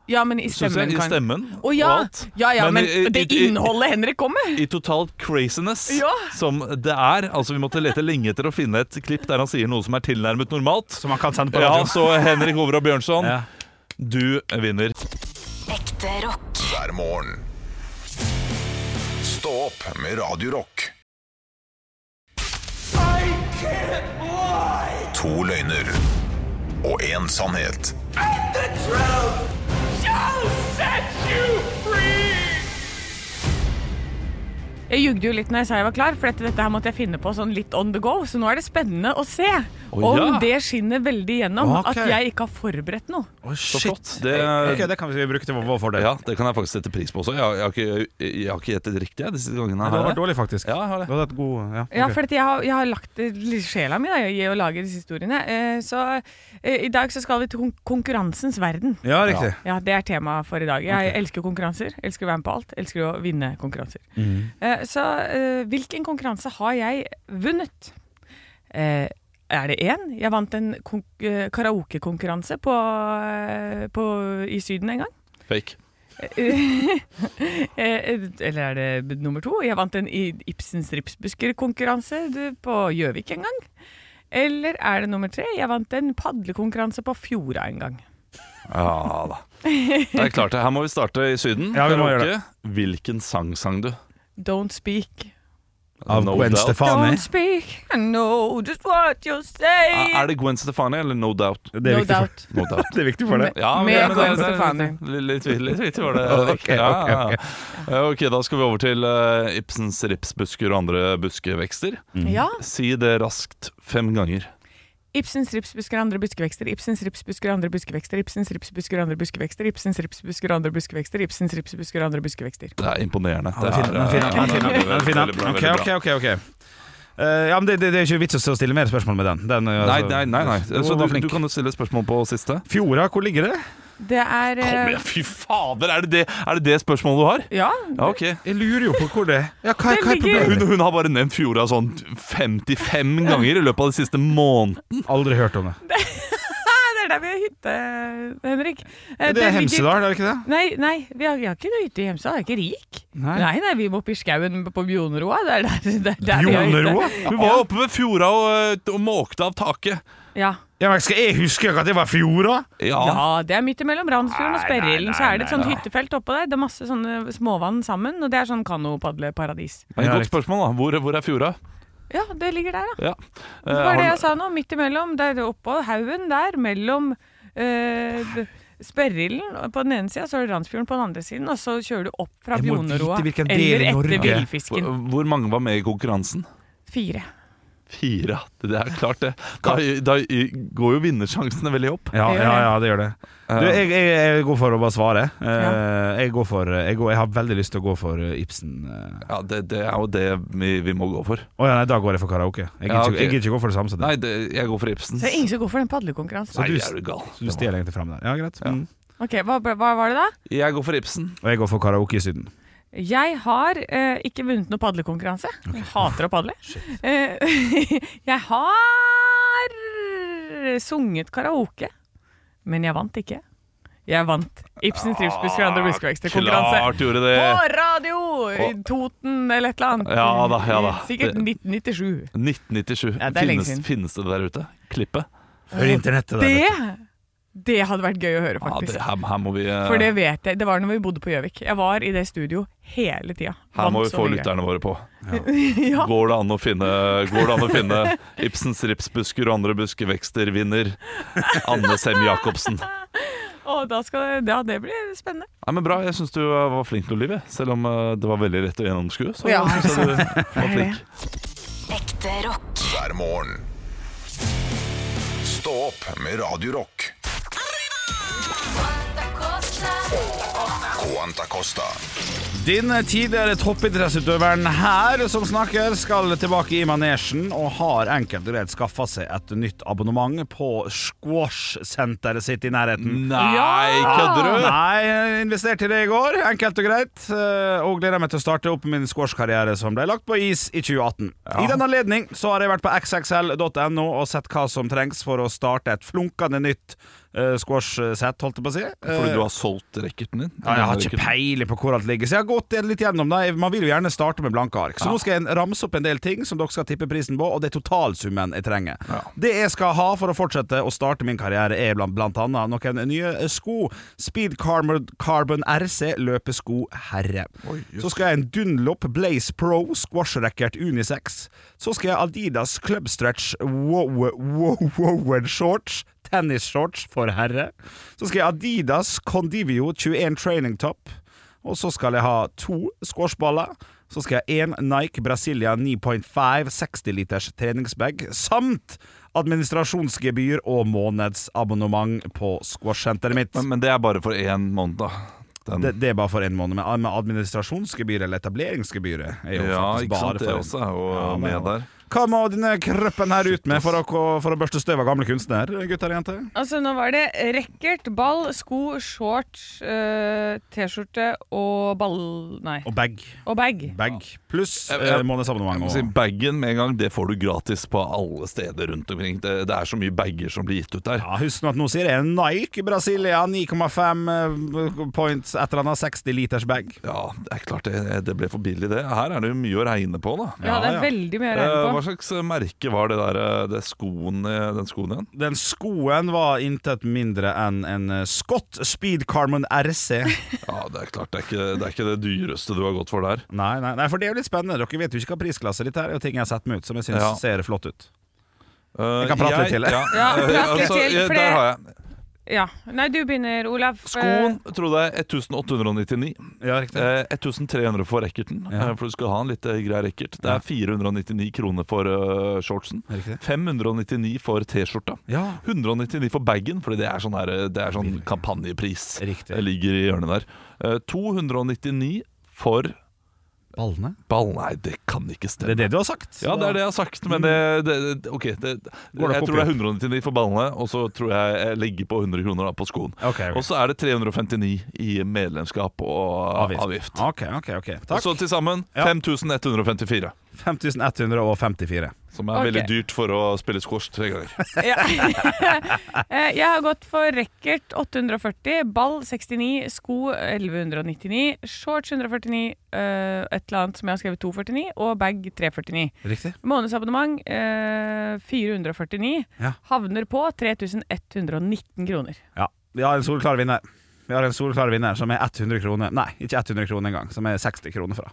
Speaker 4: Ja, men i
Speaker 5: syns jeg.
Speaker 4: stemmen
Speaker 5: I
Speaker 4: kan
Speaker 5: stemmen
Speaker 4: Å ja.
Speaker 5: og alt.
Speaker 4: ja, ja, men,
Speaker 5: i-
Speaker 4: det
Speaker 5: i- i-
Speaker 4: innholdet Henrik kom med!
Speaker 5: I totalt craziness
Speaker 4: Ja.
Speaker 5: som det er. Altså, vi måtte lete lenge etter å finne et klipp der han sier noe som er tilnærmet normalt.
Speaker 10: Som man kan sende på
Speaker 5: Ja,
Speaker 10: radioen.
Speaker 5: så Henrik Over og Bjørnson,
Speaker 10: Ja.
Speaker 5: du vinner.
Speaker 7: Ekte rock.
Speaker 3: hver morgen. Stå opp med Radio Rock. To løgner og én sannhet.
Speaker 4: Jeg jugde jo litt når jeg sa jeg var klar, for dette, dette her måtte jeg finne på sånn litt on the go. Så nå er det spennende å se om
Speaker 5: ja.
Speaker 4: det skinner veldig gjennom
Speaker 10: Ok.
Speaker 4: at jeg ikke har forberedt noe.
Speaker 5: Så flott. Det,
Speaker 10: Ok, det kan vi bruke til vår fordel.
Speaker 5: ja, det kan jeg faktisk sette pris på også. Jeg, har- jeg, har, ikke, jeg har ikke gjettet riktig jeg, disse gangene.
Speaker 10: Det
Speaker 5: her.
Speaker 10: hadde vært dårlig, faktisk.
Speaker 5: Ja, jeg har
Speaker 10: Det
Speaker 5: det.
Speaker 10: hadde vært god Ja,
Speaker 4: Ja,
Speaker 10: ok.
Speaker 4: for at jeg, har, jeg har lagt eh, litt sjela mi da, i å lage disse historiene. Eh, Så eh, i dag så skal vi til kon- konkurransens verden.
Speaker 10: ja riktig.
Speaker 4: Ja, Det er temaet for i dag. Jeg elsker konkurranser. Elsker å være med på alt. Elsker å vinne konkurranser. Eh, Så eh, hvilken konkurranse har jeg vunnet? Eh, Er det én? Jeg vant en kon- eh, karaokekonkurranse på, eh, på, i Syden en gang.
Speaker 5: Fake.
Speaker 4: Eh, Eller er det b- nummer to? Jeg vant en I- Ibsens ripsbuskerkonkurranse du, på Gjøvik en gang. Eller er det nummer tre? Jeg vant en padlekonkurranse på Fjorda en gang.
Speaker 5: Ja da. Det er klart det. Her må vi starte i Syden.
Speaker 10: Ja, vi må
Speaker 5: Karaoke.
Speaker 10: gjøre
Speaker 5: Hvilken sang sang du?
Speaker 4: Don't speak.
Speaker 10: Av
Speaker 5: No
Speaker 10: Gwen
Speaker 5: doubt.
Speaker 10: Stefani.
Speaker 4: Don't speak. I know just what you're saying.
Speaker 5: Ah, Er det Gwen Stefani eller No Doubt?
Speaker 10: Det er
Speaker 4: no
Speaker 10: viktig for-
Speaker 4: doubt.
Speaker 5: No Doubt.
Speaker 10: det er viktig for det.
Speaker 5: Ja,
Speaker 4: Med
Speaker 5: men- men-
Speaker 4: Gwen
Speaker 5: men-
Speaker 4: Stefani.
Speaker 5: Litt- Litt tvil, litt tvil var det.
Speaker 10: Ok,
Speaker 5: Ja,
Speaker 10: ok,
Speaker 5: ja, ja. ok, da skal vi over til eh, Ibsens ripsbusker og andre buskevekster.
Speaker 10: Mm.
Speaker 4: Ja.
Speaker 5: Si det raskt fem ganger.
Speaker 4: Ibsens ripsbusker og andre buskevekster, Ibsens ripsbusker og andre buskevekster, Ibsens ripsbusker og andre buskevekster, Ibsens ripsbusker og andre buskevekster, Ibsens ripsbusker og andre buskevekster.
Speaker 5: Det er imponerende.
Speaker 10: Ja, den
Speaker 5: er,
Speaker 10: er fin, den er fin,
Speaker 5: eh,
Speaker 10: den er fin, den er fin, den er
Speaker 5: veldig
Speaker 10: fin.
Speaker 5: bra,
Speaker 10: Ok,
Speaker 5: veldig
Speaker 10: ok, ok,
Speaker 5: bra.
Speaker 10: ok. Eh, ja, men det, det, det er ikke vits å stille mer spørsmål med den. den eh,
Speaker 5: Nei,
Speaker 10: altså-
Speaker 5: nei, nei. nei. Så
Speaker 10: var
Speaker 5: du,
Speaker 10: flink.
Speaker 5: du kan jo stille spørsmål på siste.
Speaker 10: Fjorda, hvor ligger det?
Speaker 4: Det er eh,
Speaker 5: Kom igjen, fy fader! Er det det, er det, det spørsmålet du har?
Speaker 4: Ja.
Speaker 5: Ja, ok
Speaker 10: Jeg lurer jo på hvor det er. Ja, hva,
Speaker 4: Det
Speaker 10: hva er
Speaker 4: ligger-
Speaker 10: problemet?
Speaker 5: hun, hun har bare nevnt Fjorda sånn 55 ganger i løpet av den siste måneden.
Speaker 10: Aldri hørt om det.
Speaker 4: Det er der vi har hytte, Henrik. Eh,
Speaker 10: Det er
Speaker 4: ligger-
Speaker 10: Hemsedal, er det ikke det?
Speaker 4: Nei, nei, vi har, vi har ikke noe hytte i Hemsedal. Jeg er ikke rik.
Speaker 10: Nei.
Speaker 4: nei, nei vi må opp i skauen på Bjoneroa. Det er der, det er der vi har hytte.
Speaker 10: Bjoneroa?
Speaker 5: Hun var oppe ved Fjorda og, eh, og måkte av taket.
Speaker 4: Ja.
Speaker 10: Ja, men Skal jeg huske at det var Fjorda?
Speaker 5: Ja,
Speaker 4: ja, det er midt imellom Randsfjorden og Sperrilden. Så er det et sånt hyttefelt oppå der. Det er masse sånne småvann sammen, og det er sånn kanopadleparadis.
Speaker 5: Men
Speaker 10: Ja,
Speaker 5: Godt
Speaker 10: riktig.
Speaker 5: spørsmål, da. Hvor, hvor er Fjorda?
Speaker 4: Ja, det ligger der, ja.
Speaker 5: Ja.
Speaker 4: Det
Speaker 5: Eh,
Speaker 4: var det
Speaker 5: har-
Speaker 4: jeg sa nå. Midt imellom. Der oppå haugen der, mellom eh, Sperrilden og på den ene sida, så er det Randsfjorden på den andre siden, og så kjører du opp fra
Speaker 10: Jeg må vite
Speaker 4: Bjoneroa.
Speaker 10: hvilken del
Speaker 4: Eller
Speaker 10: i Norge.
Speaker 4: etter villfisken.
Speaker 5: Hvor- Hvor mange var med i konkurransen?
Speaker 4: Fire.
Speaker 5: Fire. Det er klart, det. Da, da går jo vinnersjansene veldig opp.
Speaker 10: Ja,
Speaker 4: Det gjør
Speaker 10: ja,
Speaker 4: det.
Speaker 10: ja, det gjør det.
Speaker 6: Eh.
Speaker 10: Du, jeg, jeg, jeg går for å bare svare. Eh, jeg, går for, jeg, går, jeg har veldig lyst til å gå for eh, Ibsen. eh.
Speaker 5: Ja, Det, det er jo det vi, vi må gå for.
Speaker 10: Å ja, nei, da går jeg for karaoke. Jeg gidder ikke,
Speaker 5: Ja, ok.
Speaker 10: jeg gidder ikke gå for det samme som deg.
Speaker 5: Nei, det, jeg går for Ibsens.
Speaker 4: Så det er ingen som går for den padlekonkurransen.
Speaker 5: Nei, er du gal.
Speaker 10: Du stjeler egentlig fram der. Ja, greit. Mm.
Speaker 4: Ok, hva, hva var det da?
Speaker 5: Jeg går for Ibsen.
Speaker 10: Og jeg går for karaoke i Syden.
Speaker 4: Jeg har eh, ikke vunnet noen padlekonkurranse. Jeg hater å padle. Eh, jeg har sunget karaoke, men jeg vant ikke. Jeg vant Ibsens trivsbusker og andre buskevekster-konkurranse.
Speaker 5: Klart gjorde
Speaker 4: På
Speaker 5: det!
Speaker 4: radio! I Toten eller et eller annet.
Speaker 5: Ja da, ja da.
Speaker 4: Sikkert 1997.
Speaker 5: 1997.
Speaker 4: Ja, det er lenge
Speaker 5: finnes,
Speaker 4: siden.
Speaker 5: finnes det der ute? Klippet?
Speaker 10: Hør internettet der.
Speaker 4: Det Det hadde vært gøy å høre,
Speaker 5: Ja,
Speaker 4: faktisk.
Speaker 5: det, her, her må vi eh,
Speaker 4: For det vet jeg. Det var når vi bodde på Gjøvik. Jeg var i det studio hele tida.
Speaker 5: Her må
Speaker 4: Vant
Speaker 5: vi
Speaker 4: så
Speaker 5: få
Speaker 4: mye.
Speaker 5: lytterne våre på.
Speaker 4: ja.
Speaker 5: Går det an å finne, går det an å finne Ibsens ripsbusker og andre buskevekster vinner Anne Sem Jacobsen?
Speaker 4: Og da skal det, ja, det blir spennende.
Speaker 5: Nei, men bra, Jeg syns du eh, var flink, Olive. Selv om eh, det var veldig lett å gjennomskue. Så
Speaker 4: Ja,
Speaker 5: synes jeg du var
Speaker 4: er
Speaker 5: flink.
Speaker 7: Ekte rock.
Speaker 3: hver morgen. Stå opp med Radio Rock. Quanta Costa.
Speaker 6: Din eh, tidligere toppidrettsutøveren her som snakker, skal tilbake i manesjen og har enkelt og greit skaffa seg et nytt abonnement på squash-senteret sitt i nærheten.
Speaker 5: Nei, kødder du?
Speaker 6: Nei, jeg investerte i det i går, enkelt og greit. eh, Og gleder meg til å starte opp min squashkarriere som ble lagt på is i 2018. I den anledning så har jeg vært på xxl.no og sett hva som trengs for å starte et flunkende nytt eh, squash-sett, holdt jeg på å si.
Speaker 5: Fordi
Speaker 6: Eh,
Speaker 5: du har solgt racketen din?
Speaker 6: ja, jeg har ikke peiling på hvor alt ligger, så jeg har gått litt gjennom det. Man vil jo gjerne starte med blanke ark. Så nå skal jeg ramse opp en del ting som dere skal tippe prisen på, og det er totalsummen jeg trenger. Det jeg skal ha for å fortsette å starte min karriere, er blant, blant annet noen nye eh, sko. Speed Carbon, Carbon RC løpesko Herre. så skal jeg ha en Dunlop Blaze Pro squash-racket unisex. Så skal jeg ha Adidas Club Stretch Wow Wow Wow Shorts tennisshorts for herre. Så skal jeg ha Adidas Condivio 21 Training Top. Og så skal jeg ha to squashballer. Så skal jeg ha én Nike Brasilia 9.5 60-liters treningsbag samt administrasjonsgebyr og månedsabonnement på squashsenteret mitt.
Speaker 5: Men, men det er bare for én måned, da. Den.
Speaker 6: Det, det er bare for én måned, men med administrasjonsgebyr eller etableringsgebyret er jo
Speaker 5: ja,
Speaker 6: faktisk
Speaker 5: ikke sant.
Speaker 6: bare
Speaker 5: Det
Speaker 6: for
Speaker 5: også er jo
Speaker 6: Ja, men-
Speaker 5: med der.
Speaker 6: Hva må denne kroppen her ut med for å, for å børste støv av gamle kunstnere, gutter og jenter?
Speaker 4: Altså, nå var det racket, ball, sko, shorts, eh, T-skjorte og ball... Nei.
Speaker 6: Og bag.
Speaker 4: Og bag.
Speaker 6: Bag pluss
Speaker 5: Jeg- jeg-
Speaker 6: eh, månedsabonnement.
Speaker 5: Jeg må
Speaker 6: og-
Speaker 5: si, Bagen med en gang, det får du gratis på alle steder rundt omkring. Det, det er så mye bager som blir gitt ut der.
Speaker 6: Ja, Husk nå at nå sier jeg Nike Brasilia 9,5 eh, points, et eller annet 60 liters bag.
Speaker 5: Ja, det er klart det, det ble for billig, det. Her er det jo mye å regne på, da.
Speaker 4: Ja, det
Speaker 6: Ja, ja.
Speaker 4: er veldig mye å
Speaker 5: Eh,
Speaker 4: regne
Speaker 5: Hva
Speaker 4: på.
Speaker 5: slags merke var det der, eh, det skoen, eh, den skoen igjen?
Speaker 6: Den skoen var intet mindre enn en eh, Scott Speed Carmen RC.
Speaker 5: Ja, det er klart, det er ikke det, er ikke det dyreste du har gått for der.
Speaker 6: Nei, nei, nei, for det er jo litt spennende. Dere vet jo ikke hva prisklasse ditt er, og ting jeg har sett meg ut som jeg syns
Speaker 5: Ja.
Speaker 6: ser flott ut.
Speaker 5: Eh,
Speaker 6: Jeg kan prate litt til, jeg.
Speaker 5: Ja,
Speaker 4: Ja,
Speaker 5: eh,
Speaker 4: prat litt til,
Speaker 5: eh,
Speaker 4: for det-
Speaker 5: Der har jeg.
Speaker 4: Ja. Nei, du begynner, Olav.
Speaker 5: Skoen trodde jeg 1899.
Speaker 6: Ja, riktig.
Speaker 5: Eh, 1300 for racketen,
Speaker 6: Ja.
Speaker 5: eh, for du skal ha en litt eh, grei racket. Det
Speaker 6: Ja.
Speaker 5: er 499 kroner for eh, shortsen.
Speaker 6: Riktig.
Speaker 5: 599 for T-skjorta.
Speaker 6: Ja.
Speaker 5: 199 for bagen, fordi det er sånn, her, eh, det er sånn kampanjepris.
Speaker 6: Riktig.
Speaker 5: Det ligger i hjørnet der. Eh, 299 for
Speaker 6: Ballene?
Speaker 5: ball. Nei, det kan ikke
Speaker 6: Det
Speaker 5: stemme.
Speaker 6: er det du har sagt.
Speaker 5: ja, det er det jeg har sagt, men det, det, det OK. Det,
Speaker 6: opp
Speaker 5: jeg
Speaker 6: opp
Speaker 5: tror det er 199 for ballene, og så tror jeg jeg legger på 100 kroner da på skoen.
Speaker 6: Ok, ok.
Speaker 5: Og så er det 359 i medlemskap og avgift.
Speaker 6: Ok, ok, ok.
Speaker 5: Og
Speaker 6: Takk.
Speaker 5: så til sammen
Speaker 6: Ja.
Speaker 5: 5154,
Speaker 6: 5154.
Speaker 5: som er
Speaker 4: Ok.
Speaker 5: veldig dyrt for å spille squash tre ganger.
Speaker 4: Ja. Eh, Jeg har gått for racket 840, ball 69, sko 1199, shorts 149, eh, et eller annet som jeg har skrevet 249, og bag 349.
Speaker 6: Riktig.
Speaker 4: Månedsabonnement eh, 449.
Speaker 6: Ja.
Speaker 4: Havner på 3119 kroner.
Speaker 6: Ja, vi har en solklar vinner. Vi har en solklar vinner som er 100 kroner Nei, ikke 100 kroner engang, som er 60 kroner fra.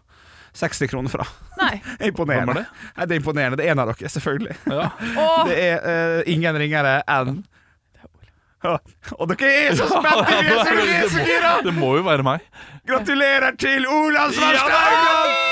Speaker 6: 60 kroner fra.
Speaker 4: Nei.
Speaker 6: Imponerende.
Speaker 5: Hvem er det?
Speaker 6: Nei, det er imponerende. Det er en av dere, selvfølgelig.
Speaker 4: Og
Speaker 6: Det er eh, ingen ringere enn Ja, Og dere er så spente! Vi er så, vi er så gira!
Speaker 5: Det må jo være meg.
Speaker 6: Gratulerer til Olav Svarstad Haugland!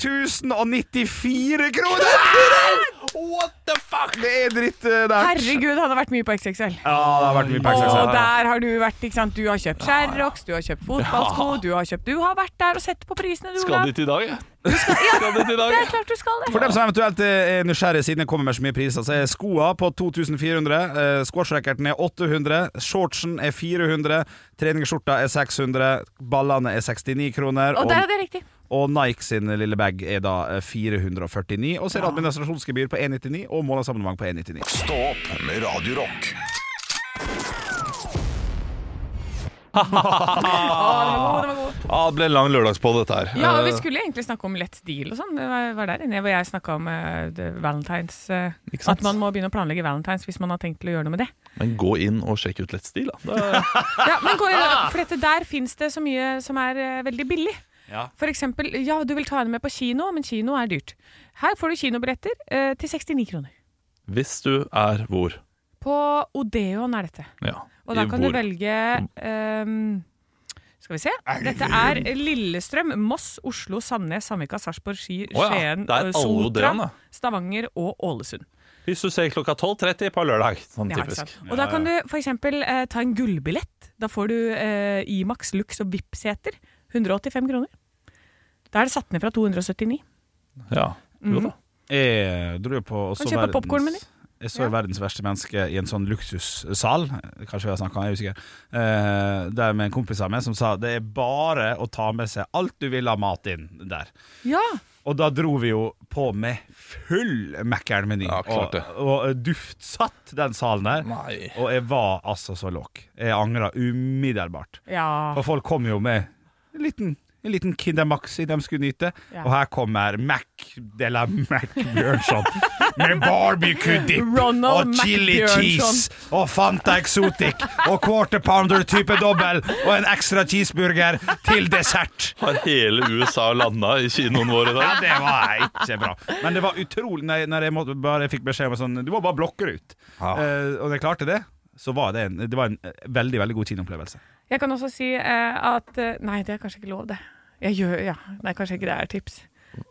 Speaker 6: 5094 kroner!
Speaker 5: What the fuck?
Speaker 6: Det er dritt eh, der.
Speaker 4: herregud, han har vært mye på XXL.
Speaker 6: Ja, det har vært mye
Speaker 4: Og
Speaker 6: pengser.
Speaker 4: der har du vært. ikke sant? Du har kjøpt Sherrox, du har kjøpt fotballsko, du har kjøpt Du har vært der og sett på prisene, du,
Speaker 5: Skal
Speaker 4: Olav.
Speaker 5: dit i dag, jeg. Skal dit i dag,
Speaker 4: Det
Speaker 5: jeg.
Speaker 4: er klart du skal det.
Speaker 6: For dem som eventuelt er nysgjerrige siden det kommer med så mye priser, så er skoa på 2400, eh, squashrackerten er 800, shortsen er 400, treningsskjorta er 600, ballene er 69 kroner,
Speaker 4: Og der er
Speaker 6: og,
Speaker 4: det riktig.
Speaker 6: og Nike sin lille bag er da eh, 449. Og så er det administrasjonsgebyr på 199 og månedsabonnement på 199.
Speaker 3: Stå opp med Radio Rock.
Speaker 4: Å, den var god, den var god.
Speaker 5: Ja, det ble en lang lørdagspod, dette her.
Speaker 4: Ja, og vi
Speaker 5: Eh,
Speaker 4: skulle egentlig snakke om lett stil og sånn. Det var, var der inne hvor jeg snakka om eh, det- valentines. eh,
Speaker 5: Ikke sant?
Speaker 4: at man må begynne å planlegge valentines hvis man har tenkt til å gjøre noe med det.
Speaker 5: Men gå inn og sjekk ut Let's Deal, da. Det er-
Speaker 4: Ja, men går,
Speaker 5: Ah!
Speaker 4: For dette der fins det så mye som er eh, veldig billig.
Speaker 5: Ja.
Speaker 4: For eksempel, ja, du vil ta henne med på kino, men kino er dyrt. Her får du kinobilletter eh, til 69 kroner.
Speaker 5: Hvis du er hvor.
Speaker 4: På Odeon er dette.
Speaker 5: Ja.
Speaker 4: Og da
Speaker 5: i
Speaker 4: kan
Speaker 5: hvor.
Speaker 4: du velge ehm, Skal vi se. Dette er Lillestrøm, Moss, Oslo, Sandnes, Sandvika, Sarpsborg, Ski,
Speaker 5: Å ja,
Speaker 4: Skien,
Speaker 5: det er alle
Speaker 4: eh, Sotra,
Speaker 5: Odeon, da.
Speaker 4: Stavanger og Ålesund.
Speaker 5: Hvis du ser klokka 12.30 på lørdag. Sånn
Speaker 4: Ja, ikke
Speaker 5: typisk.
Speaker 4: sant? Og da kan du f.eks. Eh, ta en gullbillett. Da får du eh, Imax, Lux og VIP-seter. 185 kroner. Da er det satt ned fra 279.
Speaker 5: Ja. Jo da.
Speaker 6: Jeg dro jo på og
Speaker 4: Kan
Speaker 6: så
Speaker 4: kjøpe
Speaker 6: verdens-
Speaker 4: popcornmeny.
Speaker 6: Jeg så verdens verste menneske i en sånn luksussal, kanskje vi har snakka om, jeg er usikker, eh, der med en kompis av meg som sa det er bare å ta med seg alt du vil ha mat inn der.
Speaker 4: Ja!
Speaker 6: Og da dro vi jo på med full Mækkern-meny.
Speaker 5: Ja, klart
Speaker 6: og,
Speaker 5: det.
Speaker 6: og duftsatt den salen der.
Speaker 5: Nei.
Speaker 6: Og jeg var altså så låg. Jeg angra umiddelbart.
Speaker 4: ja.
Speaker 6: For folk kom jo med en liten, en liten Kinder Maxi de skulle nyte.
Speaker 4: Ja.
Speaker 6: Og her kommer Mac de la Mac Bjørnson med barbecue-dipp og
Speaker 4: Ronald
Speaker 6: chili
Speaker 4: Mac Bjørnson.
Speaker 6: cheese og Fanta Exotic og quarter pounder type dobbel og en ekstra cheeseburger til dessert.
Speaker 5: Har hele USA landa i kinoen vår i
Speaker 6: Ja,
Speaker 5: dag?
Speaker 6: det var ikke bra. Men det var utrolig Når, når jeg måtte, bare fikk beskjed om sånn Du må bare blokke det ut.
Speaker 5: Ja.
Speaker 6: Eh, og når jeg klarte det, så var det en, det var en eh, veldig, veldig god kinoopplevelse.
Speaker 4: Jeg kan også si eh, at eh, Nei, det er kanskje ikke lov, det. Jeg gjør, ja. Nei, kanskje ikke det er tips.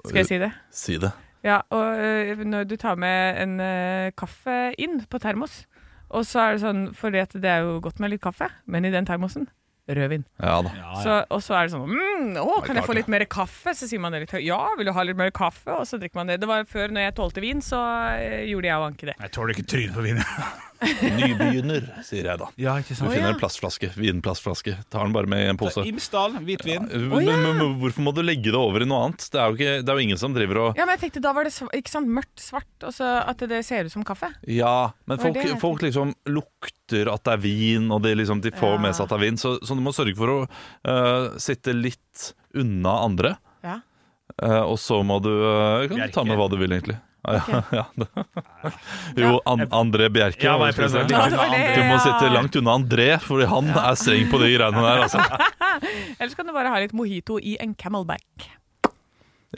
Speaker 4: Skal jeg si det?
Speaker 5: Si det.
Speaker 4: Ja, og eh, når du tar med en eh, kaffe inn på termos, og så er det sånn, for det er jo godt med litt kaffe, men i den termosen, rødvin.
Speaker 5: Ah, Ja da.
Speaker 4: Så, og så er det sånn mm, Å, kan jeg få litt mer kaffe? Så sier man det litt høyt. Ja, vil du ha litt mer kaffe? Og så drikker man det. Det var før, når jeg tålte vin, så eh, gjorde jeg og Anke det.
Speaker 6: Jeg tåler ikke trynet på vinet.
Speaker 5: Nybegynner, sier jeg da.
Speaker 6: Ja, ikke
Speaker 5: Du
Speaker 6: sant?
Speaker 5: finner en plastflaske, vinplastflaske. Tar den bare med i en pose. Eh,
Speaker 6: Imsdal, hvitvin.
Speaker 5: Men, men, men hvorfor må du legge det over i noe annet? Det er jo, ikke, det er jo ingen som driver og
Speaker 4: Ja, men jeg tenkte da var det sv- ikke sant, mørkt, svart, og så at det ser ut som kaffe.
Speaker 5: Ja, men
Speaker 4: Hva er
Speaker 5: folk,
Speaker 4: det?
Speaker 5: folk liksom lukter at det er vin, og de, liksom, de får
Speaker 4: Ja.
Speaker 5: med seg at det er vin. Så, så du må sørge for å øh, sitte litt unna andre.
Speaker 4: Ja.
Speaker 5: Eh, og så må du øh, kan du
Speaker 6: Bjerke.
Speaker 5: ta med hva du vil, egentlig. Ah, Ja, ja, ja. jo, an André Bjerke.
Speaker 6: Ja, hva
Speaker 5: hva
Speaker 6: jeg
Speaker 5: skal
Speaker 6: prøvde
Speaker 5: jeg
Speaker 6: å
Speaker 5: si?
Speaker 4: det var det,
Speaker 5: Du må
Speaker 4: ja.
Speaker 5: sitte langt unna André, for han er streng på de greiene der. Altså.
Speaker 4: Ellers kan du bare ha litt mojito i en camelback.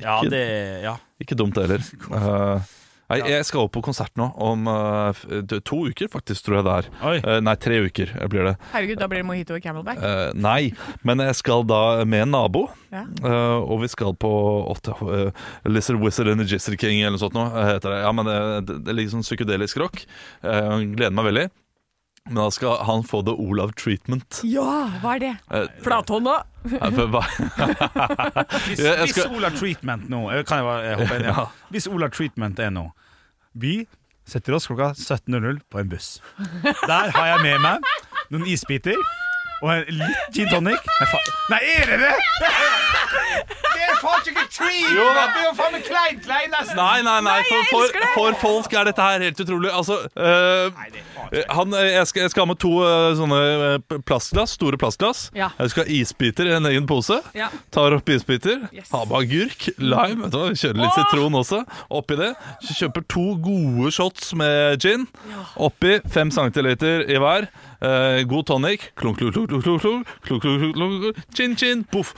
Speaker 6: Ja, det Ja.
Speaker 5: Ikke dumt heller. Eh, nei, jeg skal opp på konsert nå om eh, f- to uker, faktisk, tror jeg det er.
Speaker 6: Oi.
Speaker 5: Eh, nei, tre uker blir det.
Speaker 4: Herregud, da blir det mojito i camelback.
Speaker 5: Eh, nei, men jeg skal da med en nabo.
Speaker 4: Ja.
Speaker 5: eh, og vi skal på åtte, eh, Lizard Wizard and the Jizzer King eller noe sånt. Nå, eh, heter det. Ja, men det, det, det er litt sånn psykedelisk rock. Eh, gleder meg veldig. Men da skal han få the Olav treatment.
Speaker 4: Ja, hva er det?
Speaker 5: Eh,
Speaker 4: Flathånda.
Speaker 5: eh, for hva-
Speaker 6: Hvis,
Speaker 5: Ja, jeg
Speaker 6: hvis
Speaker 5: skal-
Speaker 6: Ola Treatment nå eh, Kan jeg bare hoppe inn? Ja.
Speaker 5: Ja.
Speaker 6: Hvis Ola Treatment er nå Vi setter oss klokka 17.00 på en buss. Der har jeg med meg noen isbiter og en litt gin tonic. Nei, faen. Nei er det det?! Det er faen ikke treatment! Det er jo faen meg kleint, kleint!
Speaker 5: Nei, nei, nei, for, for, for folk er dette her helt utrolig. Altså, øh, han, øh, jeg, skal, jeg skal ha med to øh, sånne øh, plastglass, store plastglass.
Speaker 4: Ja.
Speaker 5: Jeg skal ha isbiter i en egen pose.
Speaker 4: Ja.
Speaker 5: Tar opp isbiter.
Speaker 4: Yes.
Speaker 5: Har med agurk, lime, vet du, hva, kjører litt sitron også oppi det. Kjøper to gode shots med gin. Oppi fem centiliter i hver. Eh, god tonic. Klunk, klunk, klunk, klunk, klunk, klunk, klunk, klunk, klunk, klunk. Chin, chin, poff.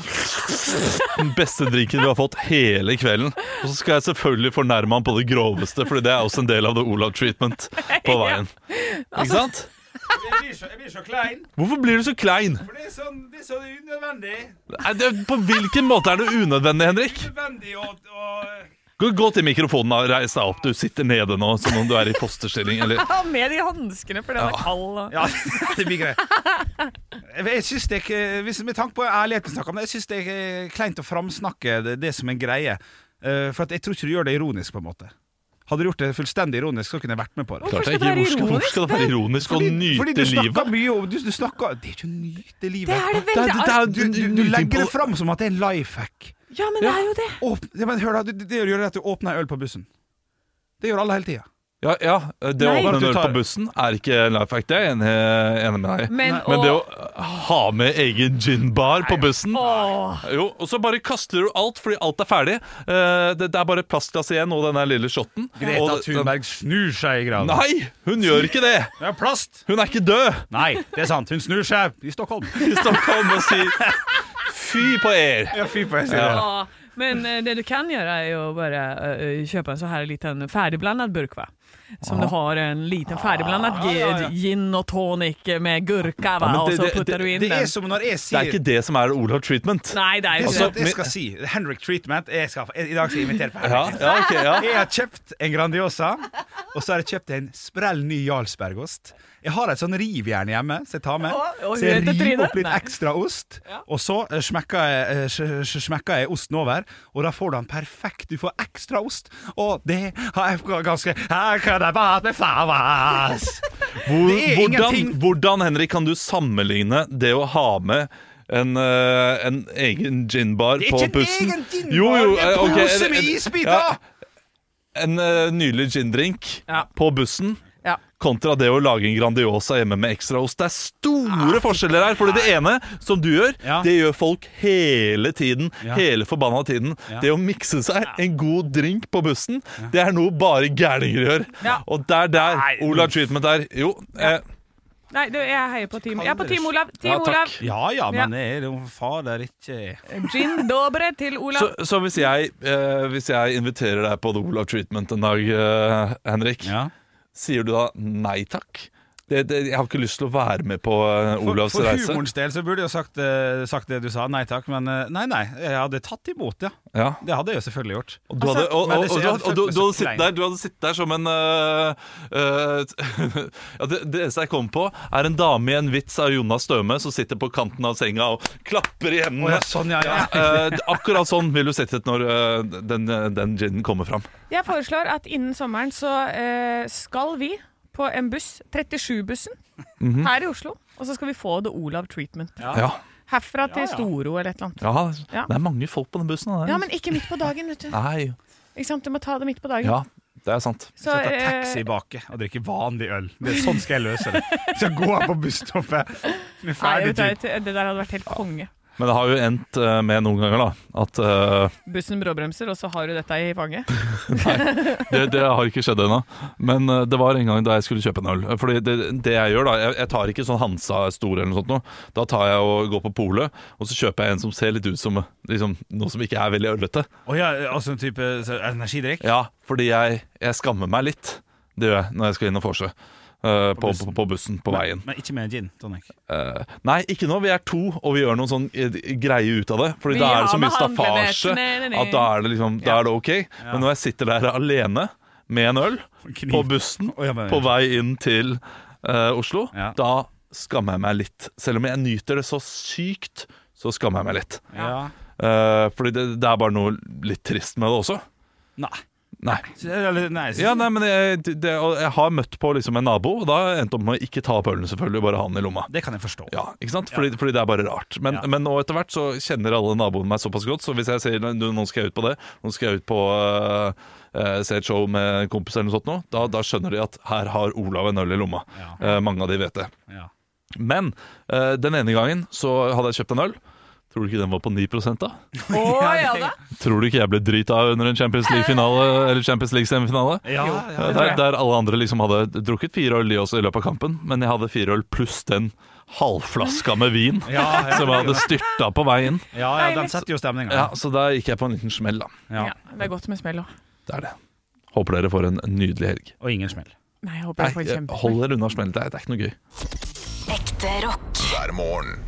Speaker 5: Den beste drinken vi har fått hele kvelden. Og så skal jeg selvfølgelig fornærme han på det groveste, Fordi det er også en del av the Olav treatment på veien. Ikke sant?
Speaker 6: Jeg blir så, jeg blir så klein,
Speaker 5: Hvorfor blir du så klein?
Speaker 6: for det er sånn, det er så unødvendig.
Speaker 5: Nei, det, på hvilken måte er det unødvendig, Henrik?
Speaker 6: Unødvendig å
Speaker 5: Gå, gå til mikrofonen og reis deg opp. Du sitter nede nå som om du er i fosterstilling. Eller
Speaker 4: Ha med de hanskene, for den er kald. og-
Speaker 6: Ja, det blir greit. Jeg synes det er ikke, hvis Med tanke på ærligheten vi snakker om, jeg synes det er kleint å framsnakke det, det som en greie. Eh, For at jeg tror ikke du gjør det ironisk, på en måte. Hadde du gjort det fullstendig ironisk, så kunne jeg vært med på det.
Speaker 5: Klart
Speaker 4: skal
Speaker 5: jeg
Speaker 4: det
Speaker 5: ikke.
Speaker 4: være
Speaker 5: Hvorfor skal, hvorfor
Speaker 4: ironisk,
Speaker 5: skal det være ironisk å nyte
Speaker 6: fordi du
Speaker 5: livet?
Speaker 6: snakker mye om du, du snakker, Det er ikke å nyte livet.
Speaker 4: Det er det
Speaker 5: Det
Speaker 4: veldig
Speaker 5: er- det er-
Speaker 6: Du, du, du legger det fram som at det er en life hack.
Speaker 4: Ja, men det er jo det.
Speaker 6: Åpne, ja, men hør da, det, det gjør det at du åpner en øl på bussen. Det gjør alle hele tida.
Speaker 5: Ja, ja, det å
Speaker 4: Nei.
Speaker 5: åpne
Speaker 6: At
Speaker 5: en
Speaker 6: du
Speaker 5: dør
Speaker 6: tar-
Speaker 5: på bussen er ikke life hack, det er jeg enig, enig med deg i.
Speaker 4: Men,
Speaker 5: Men det
Speaker 4: å-
Speaker 5: å ha med egen ginbar på bussen
Speaker 4: Åh.
Speaker 5: Jo, og så bare kaster du alt fordi alt er ferdig. Eh, det, det er bare plastglass igjen og den der lille shotten.
Speaker 6: Greta
Speaker 5: Og-
Speaker 6: Thunberg snur seg i graven.
Speaker 5: Nei, hun gjør ikke det!
Speaker 6: Det er plast!
Speaker 5: Hun er ikke død!
Speaker 6: Nei, det er sant. Hun snur seg i Stockholm.
Speaker 5: I Stockholm og sier fy på er.
Speaker 6: Ja, fy på, jeg sier det.
Speaker 4: Ja, men eh, det du kan gjøre er jo bare eh, kjøpe en så här liten färdigblandad burk va? Som du har en liten färdigblandad
Speaker 5: Ah,
Speaker 4: gi- gin och tonic med gurka va?
Speaker 5: men
Speaker 4: og
Speaker 5: det-
Speaker 4: så
Speaker 5: det-
Speaker 4: putter du inn
Speaker 6: Det
Speaker 4: den.
Speaker 6: er som når jeg
Speaker 5: Det
Speaker 6: sier
Speaker 5: er ikke det som er Olav treatment.
Speaker 4: Nei, det er
Speaker 6: Det
Speaker 4: ikke
Speaker 5: Altså-
Speaker 6: skal,
Speaker 4: det.
Speaker 6: jeg skal si Henrik Treatment. Jeg skal, I dag skal jeg invitere på
Speaker 5: Ja,
Speaker 6: Henrik.
Speaker 5: ja, ok, ja.
Speaker 6: Jeg har kjøpt en Grandiosa, og så har jeg kjøpt en sprell ny Jarlsbergost. Jeg har et sånn rivjern hjemme som jeg tar med.
Speaker 4: Å, og
Speaker 6: Så jeg
Speaker 4: hun heter
Speaker 6: river
Speaker 4: Trine?
Speaker 6: opp litt
Speaker 4: Nei.
Speaker 6: ekstra ost, og så eh, smekker jeg, eh, sj- sj- smekker jeg osten over. Og da får du den perfekt. Du får ekstra ost, og det har jeg ganske Her kan jeg bare med flavas.
Speaker 5: Hvor,
Speaker 6: Det er
Speaker 5: hvordan,
Speaker 6: ingenting.
Speaker 5: hvordan, Henrik, kan du sammenligne det å ha med en, eh, en egen ginbar
Speaker 6: Det er
Speaker 5: på
Speaker 6: ikke en
Speaker 5: bussen
Speaker 6: egen ginbar,
Speaker 5: Jo, jo,
Speaker 6: det er en
Speaker 5: eh, ok,
Speaker 6: pose
Speaker 5: en-
Speaker 6: med
Speaker 5: en-
Speaker 6: isbiter!
Speaker 5: ja, En eh, nylig gindrink
Speaker 4: Ja.
Speaker 5: på bussen
Speaker 4: Ja.
Speaker 5: kontra det å lage en Grandiosa hjemme med ekstraost. Det er store forskjeller her. Fordi det ene, som du gjør,
Speaker 6: Ah, Ja.
Speaker 5: det gjør folk hele tiden.
Speaker 6: Ja.
Speaker 5: Hele forbanna tiden. Det å mikse seg en god drink på bussen, det er noe bare gærninger gjør.
Speaker 4: Ja.
Speaker 5: Og der, der.
Speaker 6: Nei,
Speaker 5: Olav Treatment der. Jo. Eh,
Speaker 4: Nei, du, jeg heier på Team, jeg er på team Olav. Team
Speaker 5: Ja, takk.
Speaker 4: Olav.
Speaker 6: Ja ja,
Speaker 4: Ja.
Speaker 6: men jeg er jo fader ikke
Speaker 4: Gin dobre til Olav.
Speaker 5: Så, så hvis, jeg, eh, hvis jeg inviterer deg på The Olav Treatment en dag, eh, Henrik,
Speaker 6: Ja.
Speaker 5: sier du da nei takk? Det, det, jeg har ikke lyst til å være med på eh,
Speaker 6: For,
Speaker 5: Olavs
Speaker 6: for
Speaker 5: reise.
Speaker 6: humorens del så burde jeg jo sagt, eh, sagt det du sa, nei takk, men eh, nei, nei, jeg hadde tatt imot, ja.
Speaker 5: Ja.
Speaker 6: Det hadde jeg jo selvfølgelig gjort.
Speaker 5: Og du hadde, og,
Speaker 6: Altså, men
Speaker 5: og,
Speaker 6: det-
Speaker 5: og, du
Speaker 6: jeg hadde
Speaker 5: hadde- og
Speaker 6: følt
Speaker 5: du, du,
Speaker 6: meg så
Speaker 5: hadde sittet
Speaker 6: klein.
Speaker 5: der, du hadde sittet der som en øh, øh, ja, det, det eneste jeg kom på, er en dame i en vits av Jonas Støme som sitter på kanten av senga og klapper i
Speaker 6: Å
Speaker 5: hendene.
Speaker 6: ja, sånn, ja, ja.
Speaker 5: Eh, akkurat sånn vil du sittet når øh, den, den ginen kommer fram.
Speaker 4: Jeg foreslår at innen sommeren så eh, skal vi på en buss, 37-bussen,
Speaker 5: Mhm.
Speaker 4: her i Oslo. Og så skal vi få The Olav Treatment.
Speaker 5: Ja.
Speaker 4: Herfra til Storo eller et eller annet.
Speaker 5: Ja,
Speaker 4: Ja.
Speaker 5: det er mange folk på den bussen. da.
Speaker 4: Ja, men ikke midt på dagen, vet du.
Speaker 5: Nei,
Speaker 4: Ikke sant? Du må ta det midt på dagen.
Speaker 5: ja, det er sant.
Speaker 4: Så,
Speaker 6: Sette
Speaker 4: eh,
Speaker 6: taxi baki og drikke vanlig øl. Det er sånn skal jeg løse det. Så går jeg på busstoppet med
Speaker 4: Nei,
Speaker 6: ferdig
Speaker 4: vet
Speaker 6: tur.
Speaker 4: du, det der hadde vært helt konge.
Speaker 5: Men det har jo endt eh, med noen ganger da at eh,
Speaker 4: Bussen bråbremser, og så har du dette i fanget.
Speaker 5: det, det har ikke skjedd ennå. Men eh, det var en gang da jeg skulle kjøpe en øl. Eh, Fordi det, det jeg gjør da, jeg, jeg tar ikke sånn Hansa Stor eller noe sånt noe. Da tar jeg og går på polet, og så kjøper jeg en som ser litt ut som eh, liksom, noe som ikke er veldig ølete.
Speaker 6: Å ja, altså en type så, energidrikk?
Speaker 5: Ja, fordi jeg, jeg skammer meg litt. Det gjør jeg når jeg skal inn og vorse. eh, på, på, på bussen på veien.
Speaker 6: Men ikke med gin tonic.
Speaker 5: Eh, nei, ikke nå. Vi er to, og vi gjør noen sånn eh, greie ut av det. Fordi
Speaker 4: Vi
Speaker 5: da er det
Speaker 4: har
Speaker 5: så mye
Speaker 4: behandlet-
Speaker 5: staffasje
Speaker 4: Nei, nei, nei.
Speaker 5: at da er det, liksom, da er det ok. Men når jeg sitter der alene med en øl
Speaker 6: Kniv.
Speaker 5: på bussen
Speaker 6: Å, ja, men-
Speaker 5: på vei inn til eh, Oslo,
Speaker 6: Ja.
Speaker 5: da skammer jeg meg litt. Selv om jeg nyter det så sykt, så skammer jeg meg litt.
Speaker 6: Ja.
Speaker 5: Eh, fordi det, det er bare noe litt trist med det også.
Speaker 6: Nei.
Speaker 5: Nei.
Speaker 6: Så- Eller, nei, så,
Speaker 5: Ja, nei, men jeg, det, og jeg har møtt på liksom en nabo, og da endte jeg opp med å ikke ta opp ølen, selvfølgelig, bare ha den i lomma.
Speaker 6: Det kan jeg forstå.
Speaker 5: Ja, ikke sant? Fordi, fordi det er bare rart. Men,
Speaker 6: Ja.
Speaker 5: men nå etter hvert så kjenner alle naboene meg såpass godt, så hvis jeg sier "Nei, du, nå skal jeg ut på det, nå skal jeg ut på øh, øh, se et show med en kompis eller noe sånt, nå, da, da skjønner de at her har Olav en øl i lomma. Eh, mange av de vet det.
Speaker 6: Ja.
Speaker 5: Men eh, den ene gangen så hadde jeg kjøpt en øl. Tror du ikke den var på 9 da?
Speaker 4: Å ja da!
Speaker 5: Tror du ikke jeg ble drita under en Champions League-finale Eller Champions League-semifinale?
Speaker 6: Ja, ja.
Speaker 5: Eh, Der, der alle andre liksom hadde drukket fire øl de også i løpet av kampen, men jeg hadde fire øl pluss den halvflaska med vin
Speaker 6: Ja, ja.
Speaker 5: som jeg hadde styrta på vei inn.
Speaker 6: ja, ja de setter jo stemninga.
Speaker 5: Ja, så der gikk jeg på en liten smell, da.
Speaker 6: Ja.
Speaker 4: Ja, det er godt med smell òg.
Speaker 5: Det er det. Håper dere får en nydelig helg.
Speaker 6: Og ingen smell.
Speaker 4: Nei, jeg håper
Speaker 5: Nei,
Speaker 4: jeg får
Speaker 5: eh,
Speaker 4: kjempe...
Speaker 5: hold dere unna smell. Det er, det er ikke noe gøy.
Speaker 7: Ekte rock.
Speaker 3: hver morgen.